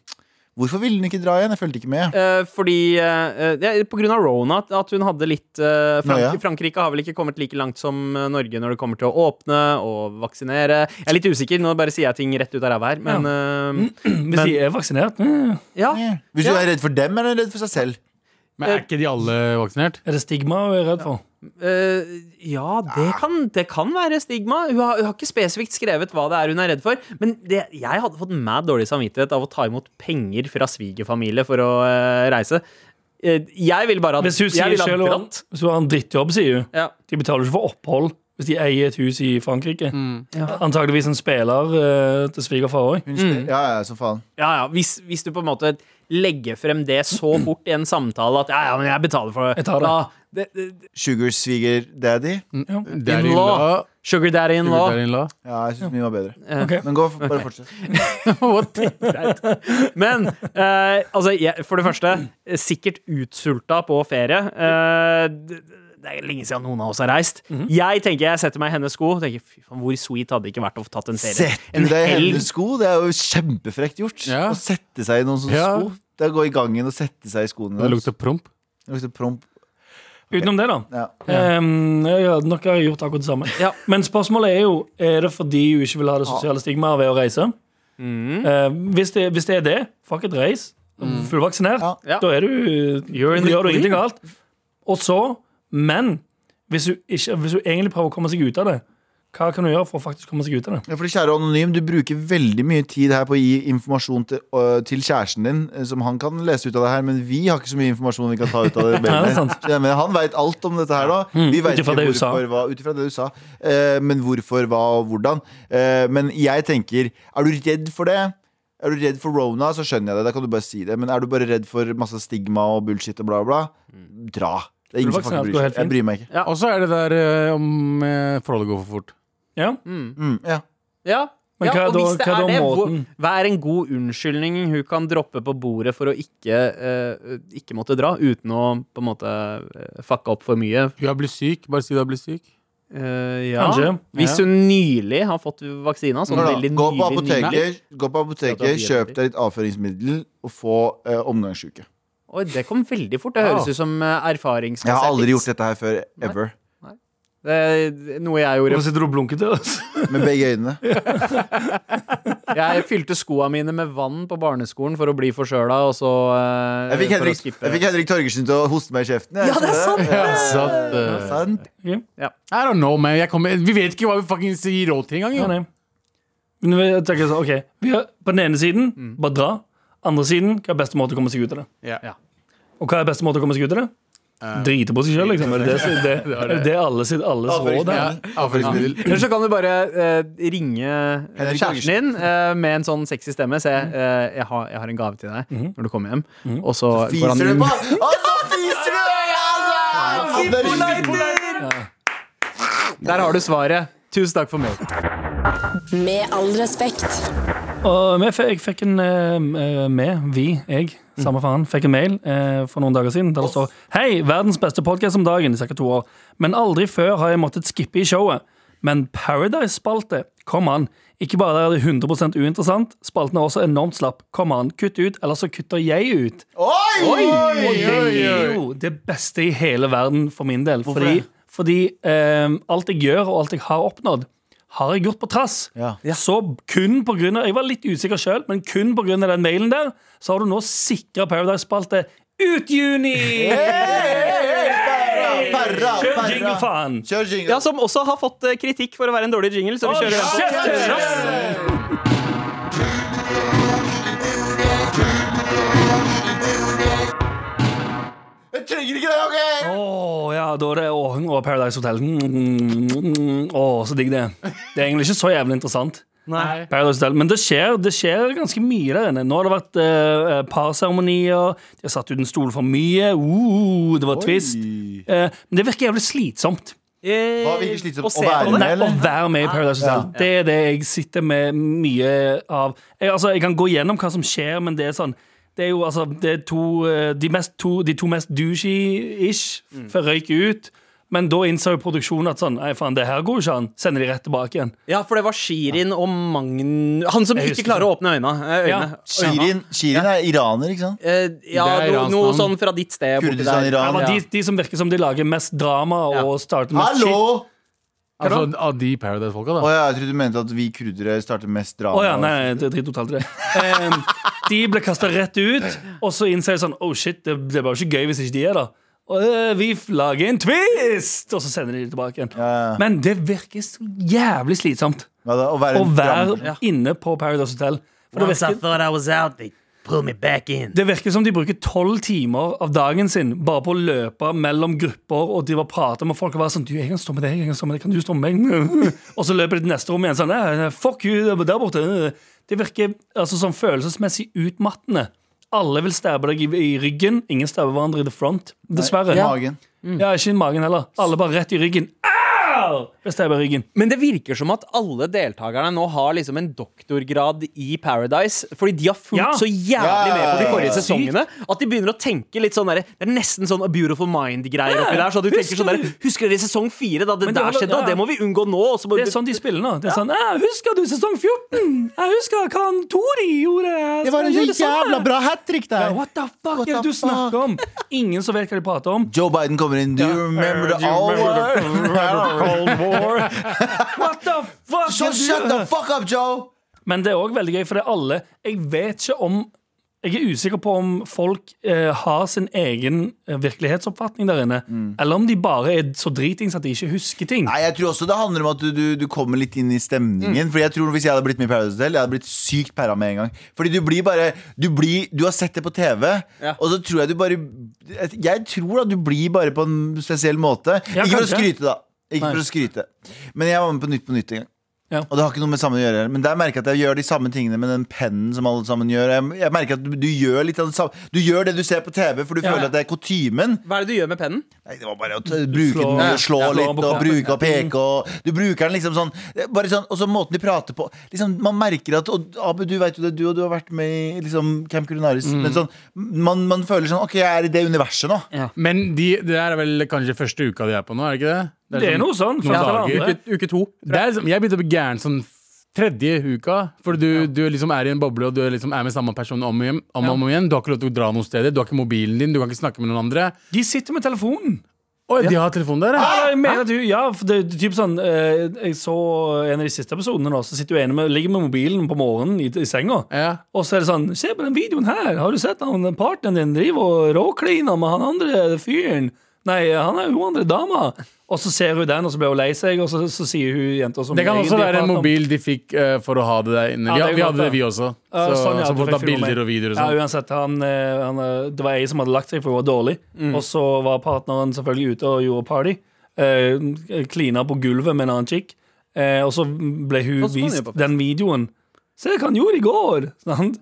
[SPEAKER 3] Hvorfor ville hun ikke dra igjen? Jeg fulgte ikke med.
[SPEAKER 2] Eh, fordi eh, det er På grunn av Rona, at- at hun hadde litt eh, Frank
[SPEAKER 3] Nå, ja.
[SPEAKER 2] Frankrike har vel ikke kommet like langt som eh, Norge når det kommer til å åpne og vaksinere. Jeg er litt usikker, nå bare sier jeg ting rett ut av ræva her, men
[SPEAKER 4] Mm.
[SPEAKER 2] eh,
[SPEAKER 4] Hvis de er vaksinert, eh,
[SPEAKER 2] ja.
[SPEAKER 3] Hvis du
[SPEAKER 2] Ja.
[SPEAKER 3] er redd for dem, er du redd for seg selv?
[SPEAKER 5] Men er ikke de alle vaksinert?
[SPEAKER 4] er det stigma hun er redd for?
[SPEAKER 2] Eh, ja, det kan, det kan være stigma. Hun har, hun har ikke spesifikt skrevet hva det er hun er redd for. Men det, jeg hadde fått mad dårlig samvittighet av å ta imot penger fra svigerfamilie for å eh, reise. Eh, jeg vil bare ha
[SPEAKER 4] Hvis hun sier
[SPEAKER 2] jeg vil ha
[SPEAKER 4] selv
[SPEAKER 2] dratt.
[SPEAKER 4] at hvis hun har en drittjobb, sier hun.
[SPEAKER 2] Ja.
[SPEAKER 4] De betaler ikke for opphold hvis de eier et hus i Frankrike.
[SPEAKER 2] Mm.
[SPEAKER 4] Antakeligvis en spiller eh, til svigerfar òg.
[SPEAKER 3] Hun sp- Ja, ja, som faen.
[SPEAKER 2] Ja, ja. Hvis, hvis du på en måte legger frem det så fort i en samtale at ja, ja, men jeg betaler for det.
[SPEAKER 4] Jeg tar det.
[SPEAKER 2] Da- det, det, det.
[SPEAKER 3] Sugar sviger daddy.
[SPEAKER 5] Daddy in law.
[SPEAKER 2] Sugar daddy in law.
[SPEAKER 5] Daddy in law.
[SPEAKER 3] Ja, jeg syns min var bedre.
[SPEAKER 4] Ok.
[SPEAKER 3] Men gå, f- bare fortsett.
[SPEAKER 5] What?
[SPEAKER 2] Men eh, altså, jeg, for det første, eh, sikkert utsulta på ferie. Eh, det, det er lenge siden noen av oss har reist.
[SPEAKER 4] Mhm.
[SPEAKER 2] Jeg tenker jeg setter meg i hennes sko. og Tenker, fy faen, Hvor sweet hadde det ikke vært å få tatt en ferie?
[SPEAKER 3] Sett
[SPEAKER 2] en
[SPEAKER 3] du deg i
[SPEAKER 2] helg.
[SPEAKER 3] hennes sko? Det er jo kjempefrekt gjort.
[SPEAKER 5] Ja.
[SPEAKER 3] Å sette seg i noen sånne
[SPEAKER 5] Ja.
[SPEAKER 3] sko. Det er å gå i gangen og sette seg i skoene.
[SPEAKER 5] Det
[SPEAKER 3] deres.
[SPEAKER 5] lukter promp.
[SPEAKER 3] Det lukter promp.
[SPEAKER 4] Utenom det, da.
[SPEAKER 3] Ja.
[SPEAKER 4] Ehm, ja, nok har jeg gjort akkurat det samme.
[SPEAKER 2] Ja.
[SPEAKER 4] Men spørsmålet er jo Er det fordi hun ikke vil ha det sosiale stigmaet ved å reise.
[SPEAKER 2] Mhm.
[SPEAKER 4] Eh, hvis, det, hvis det er det, fuck it, reis. Fullvaksinert.
[SPEAKER 3] Ja.
[SPEAKER 2] Mm. Ja.
[SPEAKER 4] Da er du
[SPEAKER 2] You're in the
[SPEAKER 4] gjør du
[SPEAKER 2] clear.
[SPEAKER 4] ingenting galt. Og så, men hvis hun, ikke, hvis hun egentlig prøver å komme seg ut av det, hva kan du gjøre for å faktisk komme seg ut av det?
[SPEAKER 3] Ja, fordi kjære Anonym, du bruker veldig mye tid her på å gi informasjon til, øh, til kjæresten din, øh, som han kan lese ut av det her, men vi har ikke så mye informasjon vi kan ta ut av det.
[SPEAKER 4] Nei, det er sant.
[SPEAKER 3] Så jeg mener, han veit alt om dette her, da. Vi vet
[SPEAKER 4] utifra
[SPEAKER 3] ikke
[SPEAKER 4] det du sa.
[SPEAKER 3] hvorfor, hva, ut ifra det du sa. Eh, men hvorfor, hva og hvordan. Eh, men jeg tenker, er du redd for det? Er du redd for Rona, så skjønner jeg det. Da kan du bare si det. Men er du bare redd for masse stigma og bullshit og bla, bla,
[SPEAKER 4] Mm.
[SPEAKER 3] dra. Det er ingen som
[SPEAKER 4] Fullvaksinert
[SPEAKER 3] faktisk
[SPEAKER 4] går
[SPEAKER 3] bryr
[SPEAKER 4] helt
[SPEAKER 3] seg. Jeg bryr meg ikke.
[SPEAKER 5] Og så er det der eh, om eh, forholdet går for fort.
[SPEAKER 4] Ja,
[SPEAKER 3] Mm, ja.
[SPEAKER 2] Ja.
[SPEAKER 4] Men
[SPEAKER 2] ja,
[SPEAKER 4] hva er
[SPEAKER 2] og
[SPEAKER 4] da-
[SPEAKER 2] hvis det
[SPEAKER 4] hva er
[SPEAKER 2] er
[SPEAKER 4] da
[SPEAKER 2] det, hvor,
[SPEAKER 4] måten?
[SPEAKER 2] hva er en god unnskyldning hun kan droppe på bordet for å ikke, eh, ikke måtte dra, uten å på en måte eh, fucke opp for mye?
[SPEAKER 5] Jeg blir syk. Bare si du har blitt syk.
[SPEAKER 2] Eh, ja.
[SPEAKER 4] Kanskje.
[SPEAKER 2] Hvis
[SPEAKER 5] Ja.
[SPEAKER 2] hun nylig har fått vaksina, sånn
[SPEAKER 3] Nå da,
[SPEAKER 2] veldig
[SPEAKER 3] gå, på
[SPEAKER 2] nylig, nylig
[SPEAKER 3] apoteket, gå på
[SPEAKER 2] Ja, da
[SPEAKER 3] apoteket,
[SPEAKER 2] blir
[SPEAKER 3] kjøp
[SPEAKER 2] det.
[SPEAKER 3] deg litt avføringsmiddel og få eh, omgangssyke.
[SPEAKER 2] Oi, Det kom veldig fort. Det høres ut som eh, erfaringsmessig.
[SPEAKER 3] Jeg har aldri gjort dette her før. Ever.
[SPEAKER 2] Noe jeg gjorde.
[SPEAKER 4] Hvorfor sitter du og blunker til oss?
[SPEAKER 3] Med begge øynene.
[SPEAKER 2] Jeg fylte skoa mine med vann på barneskolen for å bli forkjøla, og så eh, for
[SPEAKER 3] Jeg fikk
[SPEAKER 2] å
[SPEAKER 3] Henrik,
[SPEAKER 2] skippe-
[SPEAKER 3] jeg fikk Henrik Torgersen til å hoste meg i kjeften. jeg.
[SPEAKER 1] Ja, det er sant!
[SPEAKER 5] Så at,
[SPEAKER 3] Ja,
[SPEAKER 5] eh,
[SPEAKER 3] sant.
[SPEAKER 5] I don't know, man. Jeg kommer, vi vet ikke hva vi fucking sier råd til engang.
[SPEAKER 4] Ja,
[SPEAKER 5] jo.
[SPEAKER 4] nei. Men jeg tenker så, ok, vi har, På den ene siden, bare dra. Andre siden, hva er beste måte å komme seg ut av det?
[SPEAKER 5] Ja.
[SPEAKER 4] Og hva er beste måte å komme seg ut av det? Drite på seg sjøl, liksom. Er Det det, det, er det alle sitt, alles råd
[SPEAKER 5] Ja,
[SPEAKER 4] er.
[SPEAKER 5] Avføringsmiddel.
[SPEAKER 2] Eller så kan du bare eh, ringe eh,
[SPEAKER 3] Henrik
[SPEAKER 2] kjæresten din eh, med en sånn sexy stemme. Se, eh, jeg, har, jeg har en gave til deg når du kommer hjem. Og Mhm. så går han
[SPEAKER 3] Fiser du
[SPEAKER 2] inn.
[SPEAKER 3] på? Å, så fiser du! Altså! Det er riktig.
[SPEAKER 2] Der har du svaret. Tusen takk for meg.
[SPEAKER 1] Med all respekt.
[SPEAKER 4] Og vi, f- jeg fikk en eh, eh, med, vi, jeg, samme faen, fikk en mail eh, for noen dager siden der det står Hei, verdens beste podkast om dagen i ca. to år. Men aldri før har jeg måttet skippe i showet. Men Paradise-spalte, kom an. Ikke bare er det 100 uinteressant, spalten er også enormt slapp. Kom an, kutt ut, eller så kutter jeg ut.
[SPEAKER 3] Oi!
[SPEAKER 4] Og det er jo det beste i hele verden for min del. fordi
[SPEAKER 3] det?
[SPEAKER 4] fordi ehm, alt jeg gjør, og alt jeg har oppnådd, har jeg gjort på trass.
[SPEAKER 3] Ja.
[SPEAKER 4] Så kun på grunn av, Jeg var litt usikker sjøl, men kun pga. den mailen der, så har du nå sikra Paradise-spalte ut juni!
[SPEAKER 3] Perra, perra,
[SPEAKER 4] Kjør
[SPEAKER 3] perra.
[SPEAKER 4] jingle, faen!
[SPEAKER 3] Kjør jingle.
[SPEAKER 2] Ja, Som også har fått eh, kritikk for å være en dårlig jingle. Så vi
[SPEAKER 4] Å,
[SPEAKER 2] kjører den.
[SPEAKER 4] kjeft, rass!
[SPEAKER 3] Jeg trenger ikke det, OK?
[SPEAKER 4] Å ja, da er det Åheng og Paradise Hotel. Mm, Å, så digg det. er. Det er egentlig ikke så jævlig interessant.
[SPEAKER 2] Nei.
[SPEAKER 4] Paradise Hotel. Men det skjer, det skjer ganske mye der inne. Nå har det vært eh, eh, parseremonier, de har satt ut en stol for mye, uh, det var twist. Eh, men det virker jævlig slitsomt
[SPEAKER 2] Eh,
[SPEAKER 3] Hva virker slitsomt?
[SPEAKER 2] og se
[SPEAKER 3] Å være
[SPEAKER 2] på det.
[SPEAKER 3] med?
[SPEAKER 4] Nei,
[SPEAKER 3] eller?
[SPEAKER 4] å være med i Paradise Hotel. Det er det jeg sitter med mye av. Jeg, altså, jeg kan gå gjennom hva som skjer, men det er sånn det er jo altså det er to, eh, de, mest, to, de to mest douchey-ish for røyk ut. Men da innså jo produksjonen at sånn, nei faen, det her går jo ikke an. Sender de rett tilbake igjen.
[SPEAKER 2] Ja, for det var Shirin og Magn... Han som
[SPEAKER 4] Jeg
[SPEAKER 2] ikke
[SPEAKER 4] husker
[SPEAKER 2] klarer å
[SPEAKER 4] det.
[SPEAKER 2] åpne øynene. eh,
[SPEAKER 4] Ja.
[SPEAKER 2] øynene.
[SPEAKER 3] Shirin, Shirin er iraner, ikke sant?
[SPEAKER 2] Eh, ja,
[SPEAKER 5] Det er
[SPEAKER 2] no,
[SPEAKER 5] Irans
[SPEAKER 2] noe
[SPEAKER 5] navn.
[SPEAKER 2] sånn fra ditt sted. borti
[SPEAKER 3] Kurdistan,
[SPEAKER 2] der.
[SPEAKER 4] Ja,
[SPEAKER 3] Iran.
[SPEAKER 4] men
[SPEAKER 2] Ja.
[SPEAKER 4] de, de som virker som de lager mest drama og starter mest
[SPEAKER 3] Hallo!
[SPEAKER 4] shit.
[SPEAKER 5] Altså, av de Paradise-folka,
[SPEAKER 3] Å
[SPEAKER 5] da.
[SPEAKER 3] ja, jeg trodde du mente at vi kurdere starter mest drama.
[SPEAKER 4] Å ja, nei, nei, det driter totalt i det. Em, de ble kasta rett ut, og så innser de sånn Oh shit, det, det var jo ikke gøy hvis ikke de er der. Og, eh, vi lager en twist! Og så sender de det tilbake igjen.
[SPEAKER 3] Ja, ja.
[SPEAKER 4] Men det virker så jævlig slitsomt
[SPEAKER 3] Hva da? Å være
[SPEAKER 4] å
[SPEAKER 3] en
[SPEAKER 4] være
[SPEAKER 3] dram-
[SPEAKER 4] inne på Paradise Hotel. For det virker, det virker som de bruker tolv timer av dagen sin bare på å løpe mellom grupper og de var prate med folk og være sånn Du, jeg kan stå med deg, jeg kan stå med deg, kan du stå med meg? og så løper de til neste rom igjen sånn «Nei, nei, Fuck you, det er der borte. Det virker altså sånn følelsesmessig utmattende. Alle vil stabbe deg i, i ryggen, ingen stabber hverandre i the front. Dessverre.
[SPEAKER 3] magen.
[SPEAKER 4] Ja, ikke i magen heller. Alle bare rett i ryggen. Au! Blir stabba i ryggen.
[SPEAKER 2] Men det virker som at alle deltakerne nå har liksom en doktorgrad i Paradise. Fordi de har fulgt
[SPEAKER 4] Ja.
[SPEAKER 2] så jævlig
[SPEAKER 3] Ja,
[SPEAKER 2] med på de
[SPEAKER 3] ja,
[SPEAKER 2] forrige
[SPEAKER 3] ja, ja.
[SPEAKER 2] sesongene at de begynner å tenke litt sånn derre Det er nesten sånn A Beautiful Mind-greier oppi der. Så du tenker
[SPEAKER 4] husker
[SPEAKER 2] sånn der,
[SPEAKER 4] du?
[SPEAKER 2] Husker dere sesong fire, da det
[SPEAKER 4] Men det
[SPEAKER 2] der
[SPEAKER 4] holder-
[SPEAKER 2] skjedde? Og
[SPEAKER 4] ja.
[SPEAKER 2] det må vi unngå nå. Og så må
[SPEAKER 4] Det er sånn de spiller nå. Det er sånn, «Æ, 'Husker du sesong 14?' 'Jeg husker hva han Tori gjorde.'
[SPEAKER 3] Det var en
[SPEAKER 4] Gjør det
[SPEAKER 3] så
[SPEAKER 4] samme!»
[SPEAKER 3] jævla bra hat trick der.
[SPEAKER 4] Ja, What the fuck
[SPEAKER 3] What
[SPEAKER 4] er det
[SPEAKER 3] the
[SPEAKER 4] du snakker om? Ingen som vet hva de prater om.
[SPEAKER 3] Joe Biden kommer inn. Do you remember the hour?
[SPEAKER 4] What the fuck
[SPEAKER 3] So
[SPEAKER 4] er det du-
[SPEAKER 3] shut the fuck up, Joe!
[SPEAKER 4] Men det er òg veldig gøy, for det er alle Jeg vet ikke om jeg er usikker på om folk eh, har sin egen eh, virkelighetsoppfatning der inne. Eller om de bare er så dritings at de ikke husker ting.
[SPEAKER 3] Mm. Nei, jeg tror også det handler om at du, du, du kommer litt inn i stemningen.
[SPEAKER 4] Mm.
[SPEAKER 3] Fordi jeg tror Hvis jeg hadde blitt med i Paradise Hotel, jeg hadde blitt sykt pæra med en gang. Fordi du blir bare Du, blir, du har sett det på TV, og så tror jeg du bare Jeg tror da du blir bare på en spesiell måte.
[SPEAKER 4] Ja,
[SPEAKER 3] ikke for å
[SPEAKER 4] kanskje.
[SPEAKER 3] skryte, da. Ikke
[SPEAKER 4] Nei.
[SPEAKER 3] for å skryte. Men jeg var med på Nytt på Nytt en gang.
[SPEAKER 4] Ja.
[SPEAKER 3] Og det har ikke noe med sammen å gjøre Men der merker jeg at jeg gjør de samme tingene med den pennen som alle sammen gjør. Jeg, jeg merker at du, du gjør litt av det samme Du gjør det du ser på TV, for du
[SPEAKER 4] Ja.
[SPEAKER 3] føler at det er kutymen.
[SPEAKER 2] Hva er det du gjør med pennen?
[SPEAKER 3] Nei, det var bare å t- bruke
[SPEAKER 4] slår-
[SPEAKER 3] den,
[SPEAKER 4] Ja,
[SPEAKER 3] slå
[SPEAKER 4] slår
[SPEAKER 3] litt
[SPEAKER 4] han på
[SPEAKER 3] og
[SPEAKER 4] kroppen.
[SPEAKER 3] bruke og peke og Du bruker den liksom sånn Bare sånn, og så måten de prater på liksom, Man merker at og, Abu, du vet jo det, du og du har vært med i liksom, Camp Culinaris
[SPEAKER 4] Mm.
[SPEAKER 3] Men sånn, man, man føler sånn Ok, jeg er i det universet nå
[SPEAKER 5] Men de, det her er vel kanskje første uka de er på nå, er det ikke det?
[SPEAKER 4] Det er
[SPEAKER 5] sånn-
[SPEAKER 4] noe sånn.
[SPEAKER 5] noen
[SPEAKER 4] første eller
[SPEAKER 5] dager.
[SPEAKER 4] andre.
[SPEAKER 2] Uke to.
[SPEAKER 5] Det er liksom, jeg begynte å bli gæren sånn tredje uka. For du, du liksom er i en boble og du liksom er med samme person om og igjen. Om og om igjen. Du har ikke lov til å dra noen steder. Du har ikke mobilen din. Du kan ikke snakke med noen andre.
[SPEAKER 4] De sitter med telefonen.
[SPEAKER 5] Oi, de har telefon der,
[SPEAKER 4] Ja,
[SPEAKER 5] ja.
[SPEAKER 4] jeg mener at du, ja, for det, det er typ sånn eh, Jeg så en av de siste episodene, nå, så sitter du ene med, ligger med mobilen på morgenen i, i senga.
[SPEAKER 5] ja.
[SPEAKER 4] Og så er det sånn Se på den videoen her! Har du sett han partneren din driver og råkliner med han andre fyren? Nei, han er hun andre dama. Og så ser hun den, og så blir hun lei seg, og så, så sier hun jenta som
[SPEAKER 5] Det kan også
[SPEAKER 4] egentlig
[SPEAKER 5] være en
[SPEAKER 4] prater om-
[SPEAKER 5] mobil de fikk eh, for å ha det der inne.
[SPEAKER 4] Ja, det
[SPEAKER 5] Vi,
[SPEAKER 4] er
[SPEAKER 5] vi
[SPEAKER 4] godt,
[SPEAKER 5] hadde det,
[SPEAKER 4] da.
[SPEAKER 5] vi også. Så,
[SPEAKER 4] Ja, sånn, ja,
[SPEAKER 5] så
[SPEAKER 4] at
[SPEAKER 5] for å
[SPEAKER 4] du
[SPEAKER 5] ta
[SPEAKER 4] fikk filmet.
[SPEAKER 5] bilder og videoer og
[SPEAKER 4] Ja,
[SPEAKER 5] sånn.
[SPEAKER 4] uansett, han, eh, han, eh, Det var ei som hadde lagt seg, for hun var dårlig.
[SPEAKER 5] Mm.
[SPEAKER 4] Og så var partneren selvfølgelig ute og gjorde party. Eh, Klina på gulvet med en annen chick. Eh, og så ble hun
[SPEAKER 2] Og så var han jo
[SPEAKER 4] vist
[SPEAKER 2] på fest.
[SPEAKER 4] den videoen. Se hva han gjorde i går! Sant?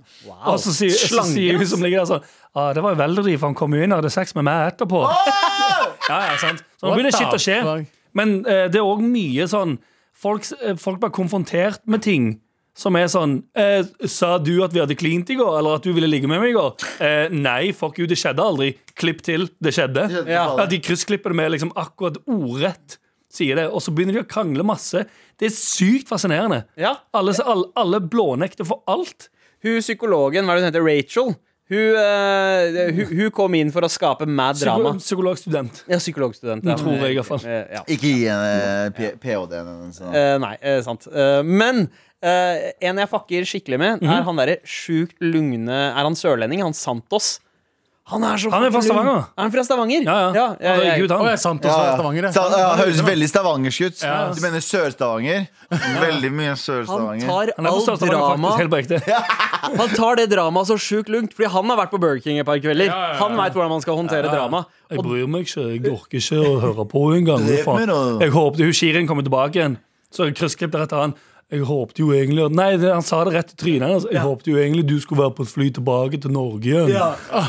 [SPEAKER 4] Og så sier, så
[SPEAKER 2] Slangen,
[SPEAKER 4] sier hun
[SPEAKER 2] ass.
[SPEAKER 4] som ligger der sånn ah, Det var jo veldig for han kom jo inn og hadde sex med meg etterpå. ja, ja, sant? Så nå
[SPEAKER 5] What
[SPEAKER 4] begynner shit
[SPEAKER 5] the
[SPEAKER 4] å skje.
[SPEAKER 5] fuck?
[SPEAKER 4] Men eh, det er òg mye sånn folk, eh, folk blir konfrontert med ting som er sånn eh, Sa du at vi hadde klint i går, eller at du ville ligge med meg i går? Eh, nei, fuck you, det skjedde aldri. Klipp til, det skjedde.
[SPEAKER 3] skjedde
[SPEAKER 4] Ja.
[SPEAKER 3] aldri.
[SPEAKER 4] Ja, de kryssklipper det med liksom akkurat ordrett. Sier det, Og så begynner de å krangle masse. Det er sykt fascinerende.
[SPEAKER 2] Ja.
[SPEAKER 4] Alle, alle, alle blånekter for alt.
[SPEAKER 2] Hun psykologen, hva er det hun heter, Rachel, hun, eh, hun, hun kom inn for å skape mad drama.
[SPEAKER 4] Psyko, psykologstudent.
[SPEAKER 2] Ja, psykologstudent. ja.
[SPEAKER 4] Tror jeg i hvert fall.
[SPEAKER 2] Eh, ja.
[SPEAKER 3] Ikke gi en eh, PHD-en sånn.
[SPEAKER 2] Eh, nei, eh, sant. Eh, men eh, en jeg fucker skikkelig med,
[SPEAKER 4] Mhm.
[SPEAKER 2] er han derre sjukt lugne Er han sørlending? Han Santos? Han er så
[SPEAKER 4] Han er fra
[SPEAKER 2] fucking lugn.
[SPEAKER 4] Stavanger.
[SPEAKER 2] Er han fra Stavanger?
[SPEAKER 4] Ja, ja.
[SPEAKER 2] ja, ja,
[SPEAKER 4] Herregud,
[SPEAKER 5] Å,
[SPEAKER 4] han.
[SPEAKER 5] jeg er sant også
[SPEAKER 3] Ja,
[SPEAKER 5] fra
[SPEAKER 3] ja.
[SPEAKER 5] Stavanger. jeg.
[SPEAKER 3] Sa- ja, høres veldig stavangersk ut Du mener Sør-Stavanger Veldig mye
[SPEAKER 2] Han
[SPEAKER 3] Sør-Stavanger
[SPEAKER 2] tar
[SPEAKER 4] Han er på
[SPEAKER 2] all
[SPEAKER 4] Sør-Stavanger,
[SPEAKER 2] drama
[SPEAKER 4] faktisk. Helt på ekte.
[SPEAKER 2] Han tar det dramaet så sjukt lugnt, fordi han har vært på Burger King et par kvelder. Han veit hvordan man skal håndtere drama.
[SPEAKER 4] Jeg bryr meg ikke. Jeg orker ikke å høre på engang.
[SPEAKER 3] Drep
[SPEAKER 4] faen.
[SPEAKER 3] meg nå.
[SPEAKER 4] Jeg håpte hun Shirin kommer tilbake igjen. Så kryssklipp der etter han. Jeg håpte jo egentlig at- Nei, det, han sa det rett i trynet hans. Jeg håpte jo egentlig du skulle være på et fly tilbake til Norge igjen.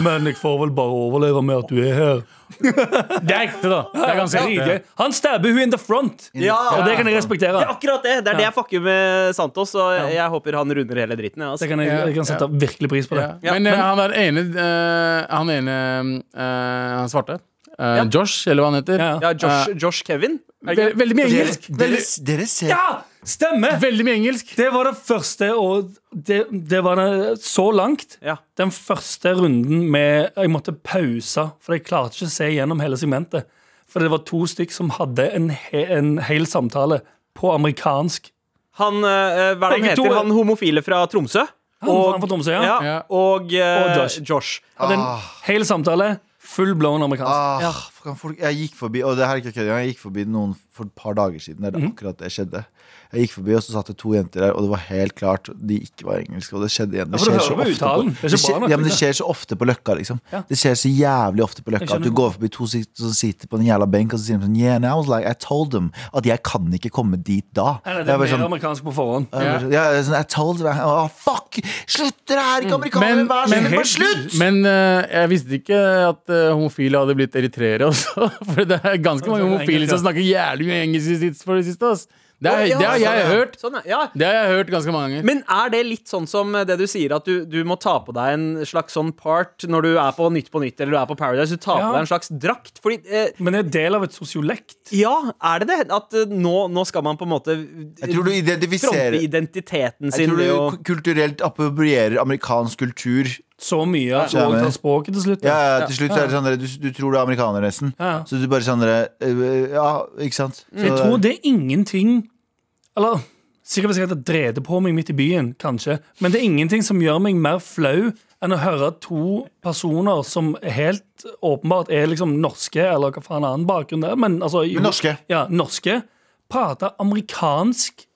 [SPEAKER 4] Men jeg får vel bare overleve med at du er her.
[SPEAKER 5] Det er ekte, da. Det er ganske
[SPEAKER 4] Dritgøy.
[SPEAKER 5] ekte.
[SPEAKER 4] Han stabber hun in the front,
[SPEAKER 2] Ja,
[SPEAKER 4] og det kan
[SPEAKER 2] Det
[SPEAKER 4] jeg
[SPEAKER 2] er
[SPEAKER 4] respektere.
[SPEAKER 2] akkurat det! Det er det jeg fucker med Santos, og jeg, jeg håper han runder hele dritten. Ja, altså.
[SPEAKER 4] Det kan jeg, jeg kan sette virkelig pris på det.
[SPEAKER 5] Ja. Men, eh, han der ene eh, Han ene eh, Han svarte. eh, Josh, eller hva han heter.
[SPEAKER 4] Ja.
[SPEAKER 2] ja, Josh, Josh Kevin. Er det ikke
[SPEAKER 5] Ve
[SPEAKER 2] det?
[SPEAKER 5] veldig mye
[SPEAKER 3] dere,
[SPEAKER 5] engelsk.
[SPEAKER 3] dere,
[SPEAKER 5] Veldig,
[SPEAKER 3] dere ser
[SPEAKER 4] Ja! Stemmer!
[SPEAKER 5] veldig mye engelsk.
[SPEAKER 4] Det var det første, og det, det var det så langt.
[SPEAKER 2] Ja.
[SPEAKER 4] Den første runden med Jeg måtte pause, for jeg klarte ikke å se gjennom hele segmentet. For det var to stykk som hadde en, he, en hel samtale på amerikansk.
[SPEAKER 2] Han, eh, hva er det han
[SPEAKER 4] Begge to
[SPEAKER 2] heter?
[SPEAKER 4] er-
[SPEAKER 2] Han homofile fra Tromsø?
[SPEAKER 4] Han, han fra Tromsø, ja.
[SPEAKER 2] ja,
[SPEAKER 5] Ja.
[SPEAKER 2] og, eh,
[SPEAKER 4] Og
[SPEAKER 2] Josh.
[SPEAKER 4] Josh. Hadde en hel samtale, full blown amerikansk.
[SPEAKER 3] Ah, kan folk, jeg gikk forbi Og det her er ikke kødd, engang, jeg gikk forbi noen for et par dager siden der det
[SPEAKER 4] Mhm.
[SPEAKER 3] akkurat det skjedde. Jeg gikk forbi, og så satt det to jenter der, og det var helt klart de ikke var engelske. Og det skjedde igjen. Det
[SPEAKER 4] for du
[SPEAKER 3] skjer
[SPEAKER 4] hører
[SPEAKER 3] så
[SPEAKER 4] med
[SPEAKER 3] ofte på,
[SPEAKER 4] uttalen. Det er
[SPEAKER 3] det
[SPEAKER 4] ikke bra
[SPEAKER 3] skjer,
[SPEAKER 4] nok,
[SPEAKER 3] ja, men det
[SPEAKER 4] liksom.
[SPEAKER 3] skjer så ofte på Løkka, liksom. Det skjer så jævlig ofte på Løkka at du
[SPEAKER 4] skjønner.
[SPEAKER 3] går forbi to sit- som sitter på en jævla benk, og så sier de sånn Yeah, and I was like, I told them at jeg kan ikke komme dit da.
[SPEAKER 4] Eller,
[SPEAKER 3] Jeg
[SPEAKER 4] det
[SPEAKER 3] bare
[SPEAKER 4] er mer
[SPEAKER 3] sånn,
[SPEAKER 4] amerikansk på forhånd.
[SPEAKER 3] jeg bare sånn, ja, jeg er sånn, I told them, oh, fuck! Slutt, dere er
[SPEAKER 4] Mm.
[SPEAKER 3] ikke amerikanere!
[SPEAKER 5] Men-
[SPEAKER 3] Vær så
[SPEAKER 5] men
[SPEAKER 3] snill, bare
[SPEAKER 5] helt-
[SPEAKER 3] slutt!
[SPEAKER 5] Men eh, jeg visste ikke at eh, homofile hadde blitt eritreere også. For det er ganske mange homofile som snakker jævlig mye engelsk i sitt for det siste. Ass. Det,
[SPEAKER 2] Å,
[SPEAKER 5] er,
[SPEAKER 2] ja,
[SPEAKER 5] det har jeg
[SPEAKER 2] sånn, ja.
[SPEAKER 5] hørt.
[SPEAKER 2] Sånn, ja.
[SPEAKER 5] Det har jeg hørt ganske mange ganger.
[SPEAKER 2] Men er det litt sånn som det du sier, at du, du må ta på deg en slags sånn part når du er på Nytt på Nytt eller du er på Paradise? Du tar
[SPEAKER 4] Ja.
[SPEAKER 2] på deg en slags drakt? Fordi eh,
[SPEAKER 4] Men det er del av et sosiolekt.
[SPEAKER 2] Ja, er det det? At eh, nå, nå skal man på en måte
[SPEAKER 3] Jeg tror du
[SPEAKER 2] fronte
[SPEAKER 3] identifiserer
[SPEAKER 2] identiteten
[SPEAKER 3] Jeg
[SPEAKER 2] sin
[SPEAKER 3] tror
[SPEAKER 2] ved
[SPEAKER 3] du
[SPEAKER 2] å
[SPEAKER 3] k- kulturelt approprierer amerikansk kultur.
[SPEAKER 4] Så mye at du
[SPEAKER 3] Skjønner.
[SPEAKER 4] tar språket til slutt.
[SPEAKER 3] Ja, ja, til slutt så er det sånn der, du, du tror du er amerikaner, nesten.
[SPEAKER 4] Ja. Mm,
[SPEAKER 3] Så du bare sånn der, øh, Ja, ikke sant? Så,
[SPEAKER 4] Jeg tror det er ingenting Eller sikkert hvis jeg hadde drevet på meg midt i byen, kanskje. Men det er ingenting som gjør meg mer flau enn å høre to personer som helt åpenbart er liksom norske, eller hva faen annen bakgrunn det er, men altså jo,
[SPEAKER 3] Men norske.
[SPEAKER 4] Ja, norske prate amerikansk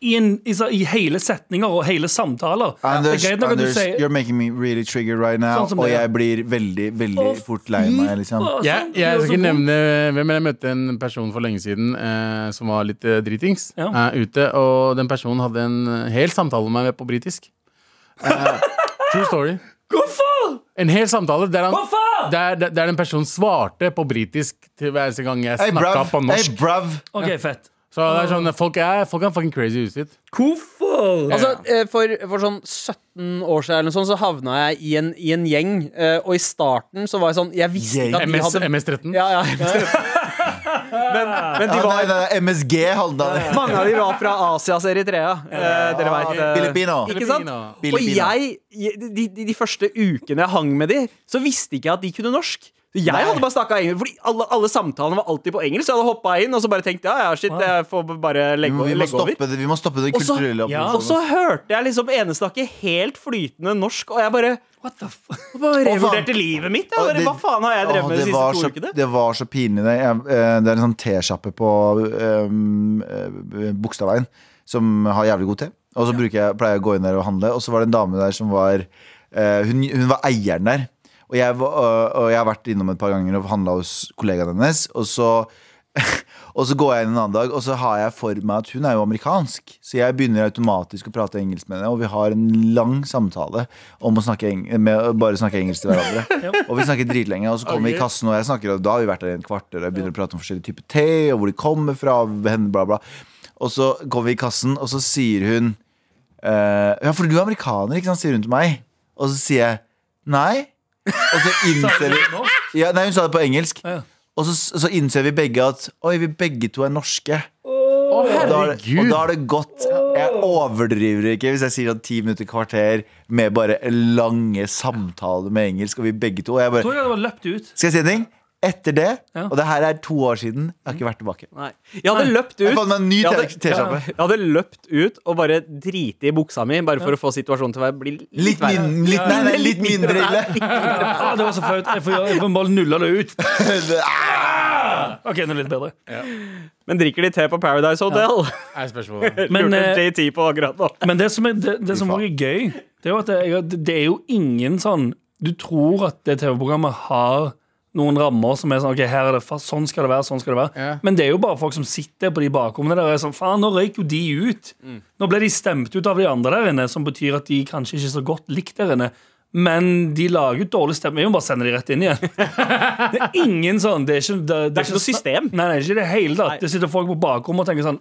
[SPEAKER 4] i, en, i, så- i hele setninger og hele samtaler.
[SPEAKER 3] Anders,
[SPEAKER 4] det er greit nok at
[SPEAKER 3] Anders
[SPEAKER 4] du sier
[SPEAKER 3] you're making me really triggered right now.
[SPEAKER 4] Sånn som
[SPEAKER 3] og
[SPEAKER 4] det, ja.
[SPEAKER 3] jeg blir veldig, veldig
[SPEAKER 4] Å,
[SPEAKER 3] fort lei meg, liksom.
[SPEAKER 4] Å,
[SPEAKER 5] Jeg,
[SPEAKER 2] altså,
[SPEAKER 4] sånn, du
[SPEAKER 5] jeg
[SPEAKER 4] er
[SPEAKER 5] skal ikke
[SPEAKER 4] så god.
[SPEAKER 5] nevne hvem, men jeg møtte en person for lenge siden eh, som var litt eh, dritings
[SPEAKER 4] Ja.
[SPEAKER 5] eh, ute. Og den personen hadde en eh, hel samtale med meg på britisk. Eh, true story.
[SPEAKER 4] Hvorfor?!
[SPEAKER 5] En hel samtale der, han,
[SPEAKER 4] Hvorfor?!
[SPEAKER 5] der, der, der den personen svarte på britisk til hver eneste gang jeg
[SPEAKER 3] Hey,
[SPEAKER 5] snakka
[SPEAKER 3] brav.
[SPEAKER 5] på
[SPEAKER 3] Hey,
[SPEAKER 5] norsk.
[SPEAKER 3] brav.
[SPEAKER 4] OK, fett.
[SPEAKER 5] Så det er sånn, folk er, folk er fucking crazy i huset sitt.
[SPEAKER 4] Hvorfor?!
[SPEAKER 2] Altså, eh, for, for sånn 17 år siden eller noe sånt, så havna jeg i en, i en gjeng. eh, Og i starten så var jeg sånn Jeg visste
[SPEAKER 3] Gjeng.
[SPEAKER 2] ikke at de
[SPEAKER 5] MS,
[SPEAKER 2] hadde
[SPEAKER 5] MS13.
[SPEAKER 2] ja, ja, men, men de
[SPEAKER 3] Ja, nei,
[SPEAKER 2] var
[SPEAKER 3] nei, nei, MSG Halvdan.
[SPEAKER 2] mange av de var fra Asias Eritrea. Eh, dere
[SPEAKER 3] Ah,
[SPEAKER 2] vet, eh,
[SPEAKER 3] Filipino.
[SPEAKER 2] Ikke sant?
[SPEAKER 3] Filipino.
[SPEAKER 2] Og jeg, jeg- de, de, de første ukene jeg hang med de, så visste ikke jeg at de kunne norsk. Så jeg hadde bare snakket engelsk, fordi alle, alle samtalene var alltid på engelsk. Så jeg hadde hoppet inn og så bare tenkt ja, ja, shit, jeg får bare
[SPEAKER 3] Vi må,
[SPEAKER 2] legge,
[SPEAKER 3] vi, må
[SPEAKER 2] legge over.
[SPEAKER 3] stoppe det, vi må stoppe det
[SPEAKER 2] Og så-
[SPEAKER 3] kulturelle
[SPEAKER 4] ja,
[SPEAKER 2] Og så hørte jeg liksom ene snakke helt flytende norsk, og jeg bare
[SPEAKER 4] What the f...
[SPEAKER 2] bare
[SPEAKER 3] faen.
[SPEAKER 2] revurderte livet mitt. Jeg. Bare, hva faen har jeg drevet med de
[SPEAKER 3] det
[SPEAKER 2] siste
[SPEAKER 3] var
[SPEAKER 2] to
[SPEAKER 3] så,
[SPEAKER 2] ukene?
[SPEAKER 3] Det var så pinlig. Det, jeg, eh, det er en sånn tesjappe på um, eh, Bogstadveien som har jævlig god te. Og så bruker jeg, pleier jeg å gå inn der og handle, og så var det en dame der som var eh, hun, hun var eieren der. Og jeg, var- og- og jeg har vært innom et par ganger og handla hos kollegaen hennes. Og så, og så går jeg inn en annen dag, og så har jeg for meg at hun er jo amerikansk. Så jeg begynner automatisk å prate engelsk med henne, og vi har en lang samtale om å snakke eng med, å bare snakke engelsk til hverandre. Og vi snakker dritlenge, og så kommer vi i kassen, og jeg snakker, og da har vi vært der i en kvarter, og jeg begynner å prate om forskjellige typer te, og hvor de kommer fra, og henne, bla, bla. Og så kommer vi i kassen, og så sier hun eh, Ja, for du er amerikaner, ikke sant? sier hun til meg. Og så sier jeg nei. Og så innser vi ja, Nei, hun sa det på engelsk.
[SPEAKER 4] Ja.
[SPEAKER 3] Og så, så innser vi begge at Oi, vi begge to er norske.
[SPEAKER 5] Å,
[SPEAKER 3] Og da, er det, og
[SPEAKER 5] herregud!
[SPEAKER 3] da er det godt. Jeg overdriver ikke hvis jeg sier at ti minutter kvarter med bare lange samtaler med engelsk, og vi begge to. Og jeg
[SPEAKER 4] Tror
[SPEAKER 3] bare,
[SPEAKER 4] jeg hadde bare løpt ut.
[SPEAKER 3] skal jeg si en ting? Etter det,
[SPEAKER 4] Ja.
[SPEAKER 3] og det her er to år siden, jeg har ikke vært tilbake.
[SPEAKER 2] Nei. Jeg hadde løpt
[SPEAKER 3] Jeg fant
[SPEAKER 2] ut.
[SPEAKER 3] meg en ny
[SPEAKER 2] Ja, det-
[SPEAKER 3] te- T-skjorte.
[SPEAKER 2] Jeg hadde løpt ut og bare driti i buksa mi, bare for å få situasjonen til å være- bli litt
[SPEAKER 3] Litt,
[SPEAKER 2] verre.
[SPEAKER 3] min, litt, nei, nei, litt mindre ille.
[SPEAKER 4] Ah, det var så flaut. Jeg får gjøre- jeg får bare nulle det ut. OK, nå er det litt bedre.
[SPEAKER 2] Men drikker de te på Paradise Hotel?
[SPEAKER 5] Er spørsmålet.
[SPEAKER 4] Men,
[SPEAKER 2] Lurte
[SPEAKER 4] eh,
[SPEAKER 2] JT på akkurat nå.
[SPEAKER 4] Men det som er, det, det som også er gøy, det er jo at det, det er jo ingen sånn Du tror at det TV-programmet har noen rammer som er sånn Ok, her er det fast, sånn skal det være, sånn skal det være.
[SPEAKER 5] Ja.
[SPEAKER 4] Men det er jo bare folk som sitter på de bakrommene der og er sånn Faen, nå røyk jo de ut.
[SPEAKER 2] Mm.
[SPEAKER 4] Nå ble de stemt ut av de andre der inne, som betyr at de kanskje ikke er så godt likt der inne. Men de lager jo dårlig stemme. Vi må bare sende de rett inn igjen. Det er ingen sånn Det er ikke, det, det
[SPEAKER 2] er ikke noe
[SPEAKER 4] sna-
[SPEAKER 2] system.
[SPEAKER 4] Nei, nei, ikke i det hele tatt. Det sitter folk på bakrommet og tenker sånn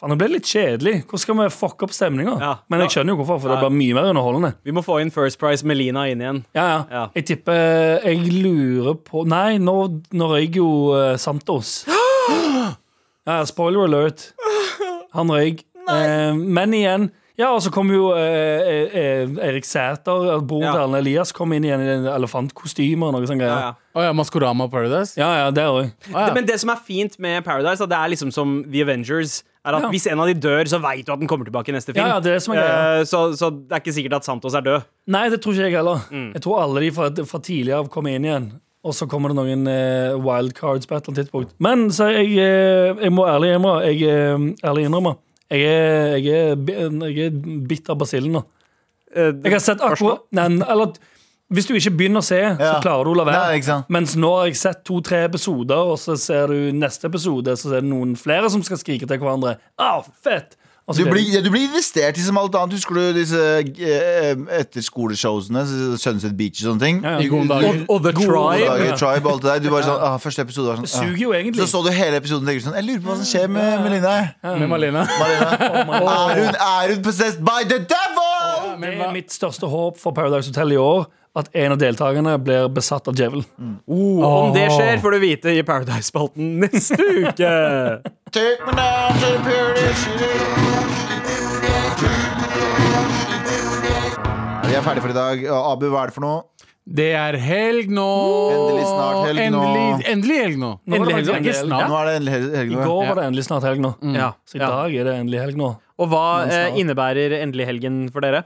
[SPEAKER 4] Faen, det ble litt kjedelig. Hvordan skal vi fucke opp stemninga?
[SPEAKER 2] Ja.
[SPEAKER 4] Men jeg skjønner jo hvorfor, for det blir mye mer underholdende.
[SPEAKER 2] Vi må få inn First Price Melina inn igjen.
[SPEAKER 4] Ja, ja.
[SPEAKER 2] Ja.
[SPEAKER 4] Jeg tipper Jeg lurer på Nei, nå, nå røyk jo eh, Santos. Ja, spoiler alert. Han røyk. Eh, men igjen Ja, og så kom jo eh, eh, eh, Erik Sæter, eh, broren
[SPEAKER 2] Ja.
[SPEAKER 4] til Erlend Elias, kom inn igjen i den elefantkostymer og noe sånt
[SPEAKER 2] Ja,
[SPEAKER 4] greier.
[SPEAKER 2] ja.
[SPEAKER 5] Å ja, Maskorama Paradise?
[SPEAKER 4] Ja, ja, der òg.
[SPEAKER 5] Å, ja.
[SPEAKER 2] Men det som er fint med Paradise, at det er liksom som The Avengers. Er at
[SPEAKER 4] Ja.
[SPEAKER 2] Hvis en av de dør, så veit du at den kommer tilbake i neste film.
[SPEAKER 4] Ja, ja, det er det som er greia.
[SPEAKER 2] Eh, så, så det er ikke sikkert at Santos er død.
[SPEAKER 4] Nei, det tror ikke jeg heller.
[SPEAKER 3] Mm.
[SPEAKER 4] Jeg tror alle de fra, fra tidlig av kommer inn igjen. Og så kommer det noen eh, wildcards på et eller annet tidspunkt. Men så er jeg, eh, jeg må ærlig innrømme Jeg, eh, ærlig innrømme. jeg, er, jeg, er, bi- jeg er bitt av basillen nå.
[SPEAKER 2] Eh,
[SPEAKER 4] Jeg har sett akkurat nei, Eller hvis du ikke begynner å se, så
[SPEAKER 3] Ja.
[SPEAKER 4] klarer du å la
[SPEAKER 3] Nei,
[SPEAKER 4] være.
[SPEAKER 3] ikke sant.
[SPEAKER 4] Mens nå har jeg sett to-tre episoder, og så ser du neste episode, så er det noen flere som skal skrike til hverandre. Au, fett! Og så
[SPEAKER 3] Du
[SPEAKER 4] gleder
[SPEAKER 3] blir, ja, du blir investert i som alt annet. Husker du disse eh, etterskole-showsene? Sunset Beach og sånne ting.
[SPEAKER 4] Ja, ja.
[SPEAKER 5] I gode dager.
[SPEAKER 2] Og The
[SPEAKER 3] Gode
[SPEAKER 2] Tribe.
[SPEAKER 3] dager, Tribe og alt det der. Du bare sånn, ah, første episode var sånn
[SPEAKER 4] Det
[SPEAKER 3] ah.
[SPEAKER 4] suger jo egentlig.
[SPEAKER 3] Så så du hele episoden og tenker sånn Jeg lurer på hva som skjer med Melina.
[SPEAKER 5] Med Malena.
[SPEAKER 4] Oh
[SPEAKER 3] Er hun, er hun possessed by the devil?
[SPEAKER 4] Det er mitt største håp for Paradise Hotel i år at en av deltakerne blir besatt av djevelen.
[SPEAKER 2] Oh, Om det skjer, får du vite i Paradise-spalten neste uke.
[SPEAKER 3] Take me down to the purity city. Vi er ferdige for i dag. Og Abu, hva er det for noe?
[SPEAKER 5] Det er helg nå!
[SPEAKER 3] Endelig snart helg nå.
[SPEAKER 5] Endelig, endelig helg nå.
[SPEAKER 4] Nå er det
[SPEAKER 5] Endelig
[SPEAKER 4] faktisk
[SPEAKER 5] helg, det er
[SPEAKER 4] endelig
[SPEAKER 5] ikke
[SPEAKER 4] helg.
[SPEAKER 5] snart.
[SPEAKER 3] Nå er det endelig hel- helg
[SPEAKER 4] I
[SPEAKER 3] nå.
[SPEAKER 4] går
[SPEAKER 5] Ja.
[SPEAKER 4] var det endelig snart
[SPEAKER 3] Mm.
[SPEAKER 4] helg nå.
[SPEAKER 2] Ja,
[SPEAKER 4] Så i
[SPEAKER 2] ja.
[SPEAKER 4] dag er det endelig helg nå.
[SPEAKER 2] Og hva
[SPEAKER 4] Noen snart.
[SPEAKER 2] eh, innebærer endelig helgen for dere?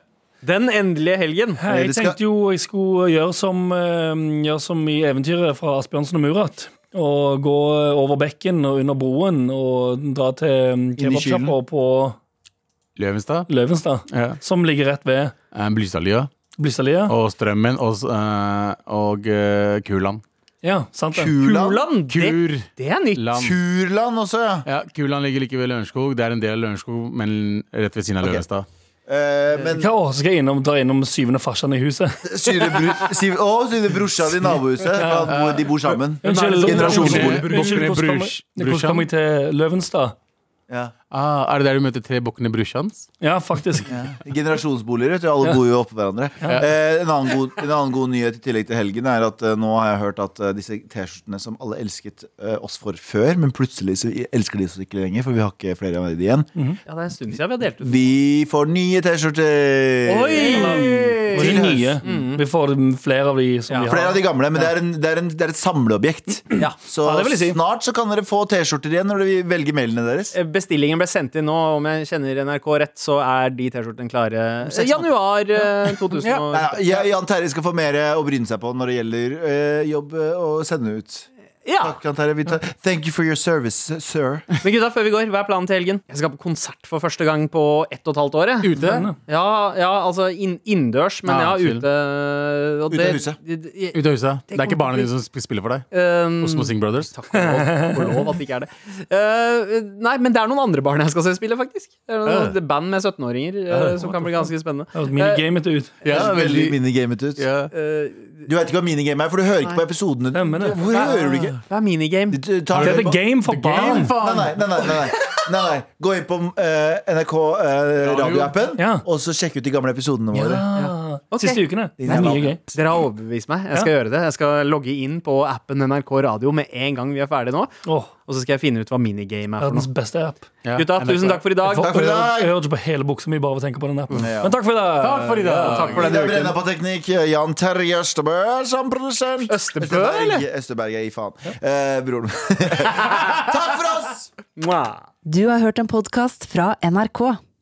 [SPEAKER 2] Den endelige helgen.
[SPEAKER 4] Hei, Jeg
[SPEAKER 3] det skal-
[SPEAKER 4] tenkte jo jeg skulle gjøre som, eh, gjøre som i eventyret fra Asbjørnsen og Murat. Og gå over bekken og under broen og dra til mm,
[SPEAKER 3] i kylen.
[SPEAKER 4] kebabsjappa på
[SPEAKER 5] Løvenstad.
[SPEAKER 4] Løvenstad.
[SPEAKER 5] Ja.
[SPEAKER 4] Som ligger rett ved
[SPEAKER 5] Eh, Blystadlia.
[SPEAKER 4] Blystadlia.
[SPEAKER 5] Og Strømmen og, s- eh, og eh, Kuland.
[SPEAKER 4] Ja, sant det.
[SPEAKER 3] Kulan.
[SPEAKER 2] Kuland, det,
[SPEAKER 5] Kurland.
[SPEAKER 2] det er nytt.
[SPEAKER 3] Kurland også, ja.
[SPEAKER 5] Ja, Kuland ligger like ved Lørenskog. Det er en del av Lørenskog, men rett ved siden av
[SPEAKER 3] Ok.
[SPEAKER 5] Løvenstad.
[SPEAKER 3] Eh, men
[SPEAKER 4] Hva år skal jeg innom, dra innom syvende farsan i huset?
[SPEAKER 3] syre, bru- syv, å, syre brorsan i nabohuset. for han bor- De bor sammen.
[SPEAKER 4] Unnskyld,
[SPEAKER 3] Generasjon-
[SPEAKER 4] unnskyld, unnskyld,
[SPEAKER 5] Brus- Brus-
[SPEAKER 4] hvordan kom
[SPEAKER 5] Brus-
[SPEAKER 4] jeg- hvordan kom jeg til Løvenstad?
[SPEAKER 3] Ja.
[SPEAKER 5] Ah, er det der du møter tre bukkene Brusjans?
[SPEAKER 4] Ja, faktisk.
[SPEAKER 3] Generasjonsboliger. Vet du, alle bor jo oppå hverandre. Eh, en, annen god, en annen god nyhet i tillegg til helgen er at eh, nå har jeg hørt at eh, disse T-skjortene som alle elsket eh, oss for før, men plutselig så elsker de oss ikke lenger, for vi har ikke flere av de
[SPEAKER 4] Mm.
[SPEAKER 3] igjen.
[SPEAKER 2] Ja, det er en stund siden vi har delt ut.
[SPEAKER 3] Vi får nye T-skjorter!
[SPEAKER 4] Og de nye. Vi får flere av de som vi
[SPEAKER 3] Flere av
[SPEAKER 4] har.
[SPEAKER 3] de gamle, men det er, en, det er, en, det er et samleobjekt. Så
[SPEAKER 2] Ja, det vil jeg si.
[SPEAKER 3] snart så kan dere få T-skjorter igjen når dere velger mailene deres.
[SPEAKER 2] Bestillingen ble sendt inn nå, om jeg kjenner NRK rett, så er de T-skjortene klare
[SPEAKER 3] seks
[SPEAKER 2] januar eh, 2000. og-
[SPEAKER 3] Nei, ja, Jan Terje skal få mer eh, å bryne seg på når det gjelder eh, jobb eh, og sende ut.
[SPEAKER 2] Ja.
[SPEAKER 3] Takk, Jan Terje. Vi tar- Thank you for your service, sir.
[SPEAKER 2] Men gutta, før vi går, hva er planen til helgen? Jeg skal på konsert for første gang på ett og et halvt år. jeg.
[SPEAKER 5] Ute?
[SPEAKER 2] Ja, ja, altså inn- innendørs, men ja,
[SPEAKER 5] Ja, chill.
[SPEAKER 2] ute og
[SPEAKER 3] Ute av
[SPEAKER 2] det-
[SPEAKER 3] huset.
[SPEAKER 2] det- det-
[SPEAKER 5] Ute av huset. Det er ikke barna
[SPEAKER 2] kommer til å
[SPEAKER 5] dine som sp- spiller for deg?
[SPEAKER 2] eh,
[SPEAKER 5] Osmo Sing Brothers?
[SPEAKER 2] Takk og lov, og lov at det ikke er det. Eh, nei, men det er noen andre barn jeg skal se spille, faktisk. Det er noen, det er band med 17-åringer eh, som kan bli ganske spennende.
[SPEAKER 4] Høres Altså, minigamet ut.
[SPEAKER 5] Ja,
[SPEAKER 3] Det er veldig minigamet ut.
[SPEAKER 5] ja.
[SPEAKER 2] Eh,
[SPEAKER 3] Du veit ikke hva minigame er, for du hører ikke på episodene.
[SPEAKER 4] Stemmer det.
[SPEAKER 3] Hvor hører du ikke?
[SPEAKER 2] Ah. Det er minigame.
[SPEAKER 3] Du tar
[SPEAKER 4] Det er
[SPEAKER 3] det
[SPEAKER 4] the
[SPEAKER 3] på-
[SPEAKER 4] game for
[SPEAKER 3] Nei,
[SPEAKER 4] barn.
[SPEAKER 3] nei, nei, nei, nei, nei, nei. Gå inn på eh, NRK eh, radioappen,
[SPEAKER 4] Ja.
[SPEAKER 3] og så sjekk ut de gamle episodene våre.
[SPEAKER 4] Ja.
[SPEAKER 2] Ok.
[SPEAKER 4] Ah, Siste ukene. Det er mye gøy.
[SPEAKER 2] Dere har overbevist meg. Jeg skal gjøre det. Jeg skal logge inn på appen NRK Radio med en gang vi er ferdige nå.
[SPEAKER 4] Åh,
[SPEAKER 2] Og så skal jeg finne ut hva minigame er for
[SPEAKER 4] verdens
[SPEAKER 2] noe.
[SPEAKER 4] beste app.
[SPEAKER 5] Ja,
[SPEAKER 2] Gutta,
[SPEAKER 5] NRK.
[SPEAKER 2] tusen takk for i dag.
[SPEAKER 3] Takk for i dag.
[SPEAKER 4] Jeg hørte ikke på hele buksa mi bare ved å tenke på den appen. Men takk for i dag.
[SPEAKER 5] Takk for i dag.
[SPEAKER 2] Og takk for
[SPEAKER 3] Ida
[SPEAKER 2] denne
[SPEAKER 3] Brenna
[SPEAKER 2] uken.
[SPEAKER 3] på teknikk, eh, Jan Terje Østebø som produsent.
[SPEAKER 2] Østebø,
[SPEAKER 3] Østeberg,
[SPEAKER 2] eller?
[SPEAKER 3] Østeberg, jeg gir faen. Eh, broren min. Takk for oss!
[SPEAKER 2] Mwah.
[SPEAKER 7] Du har hørt en podkast fra NRK.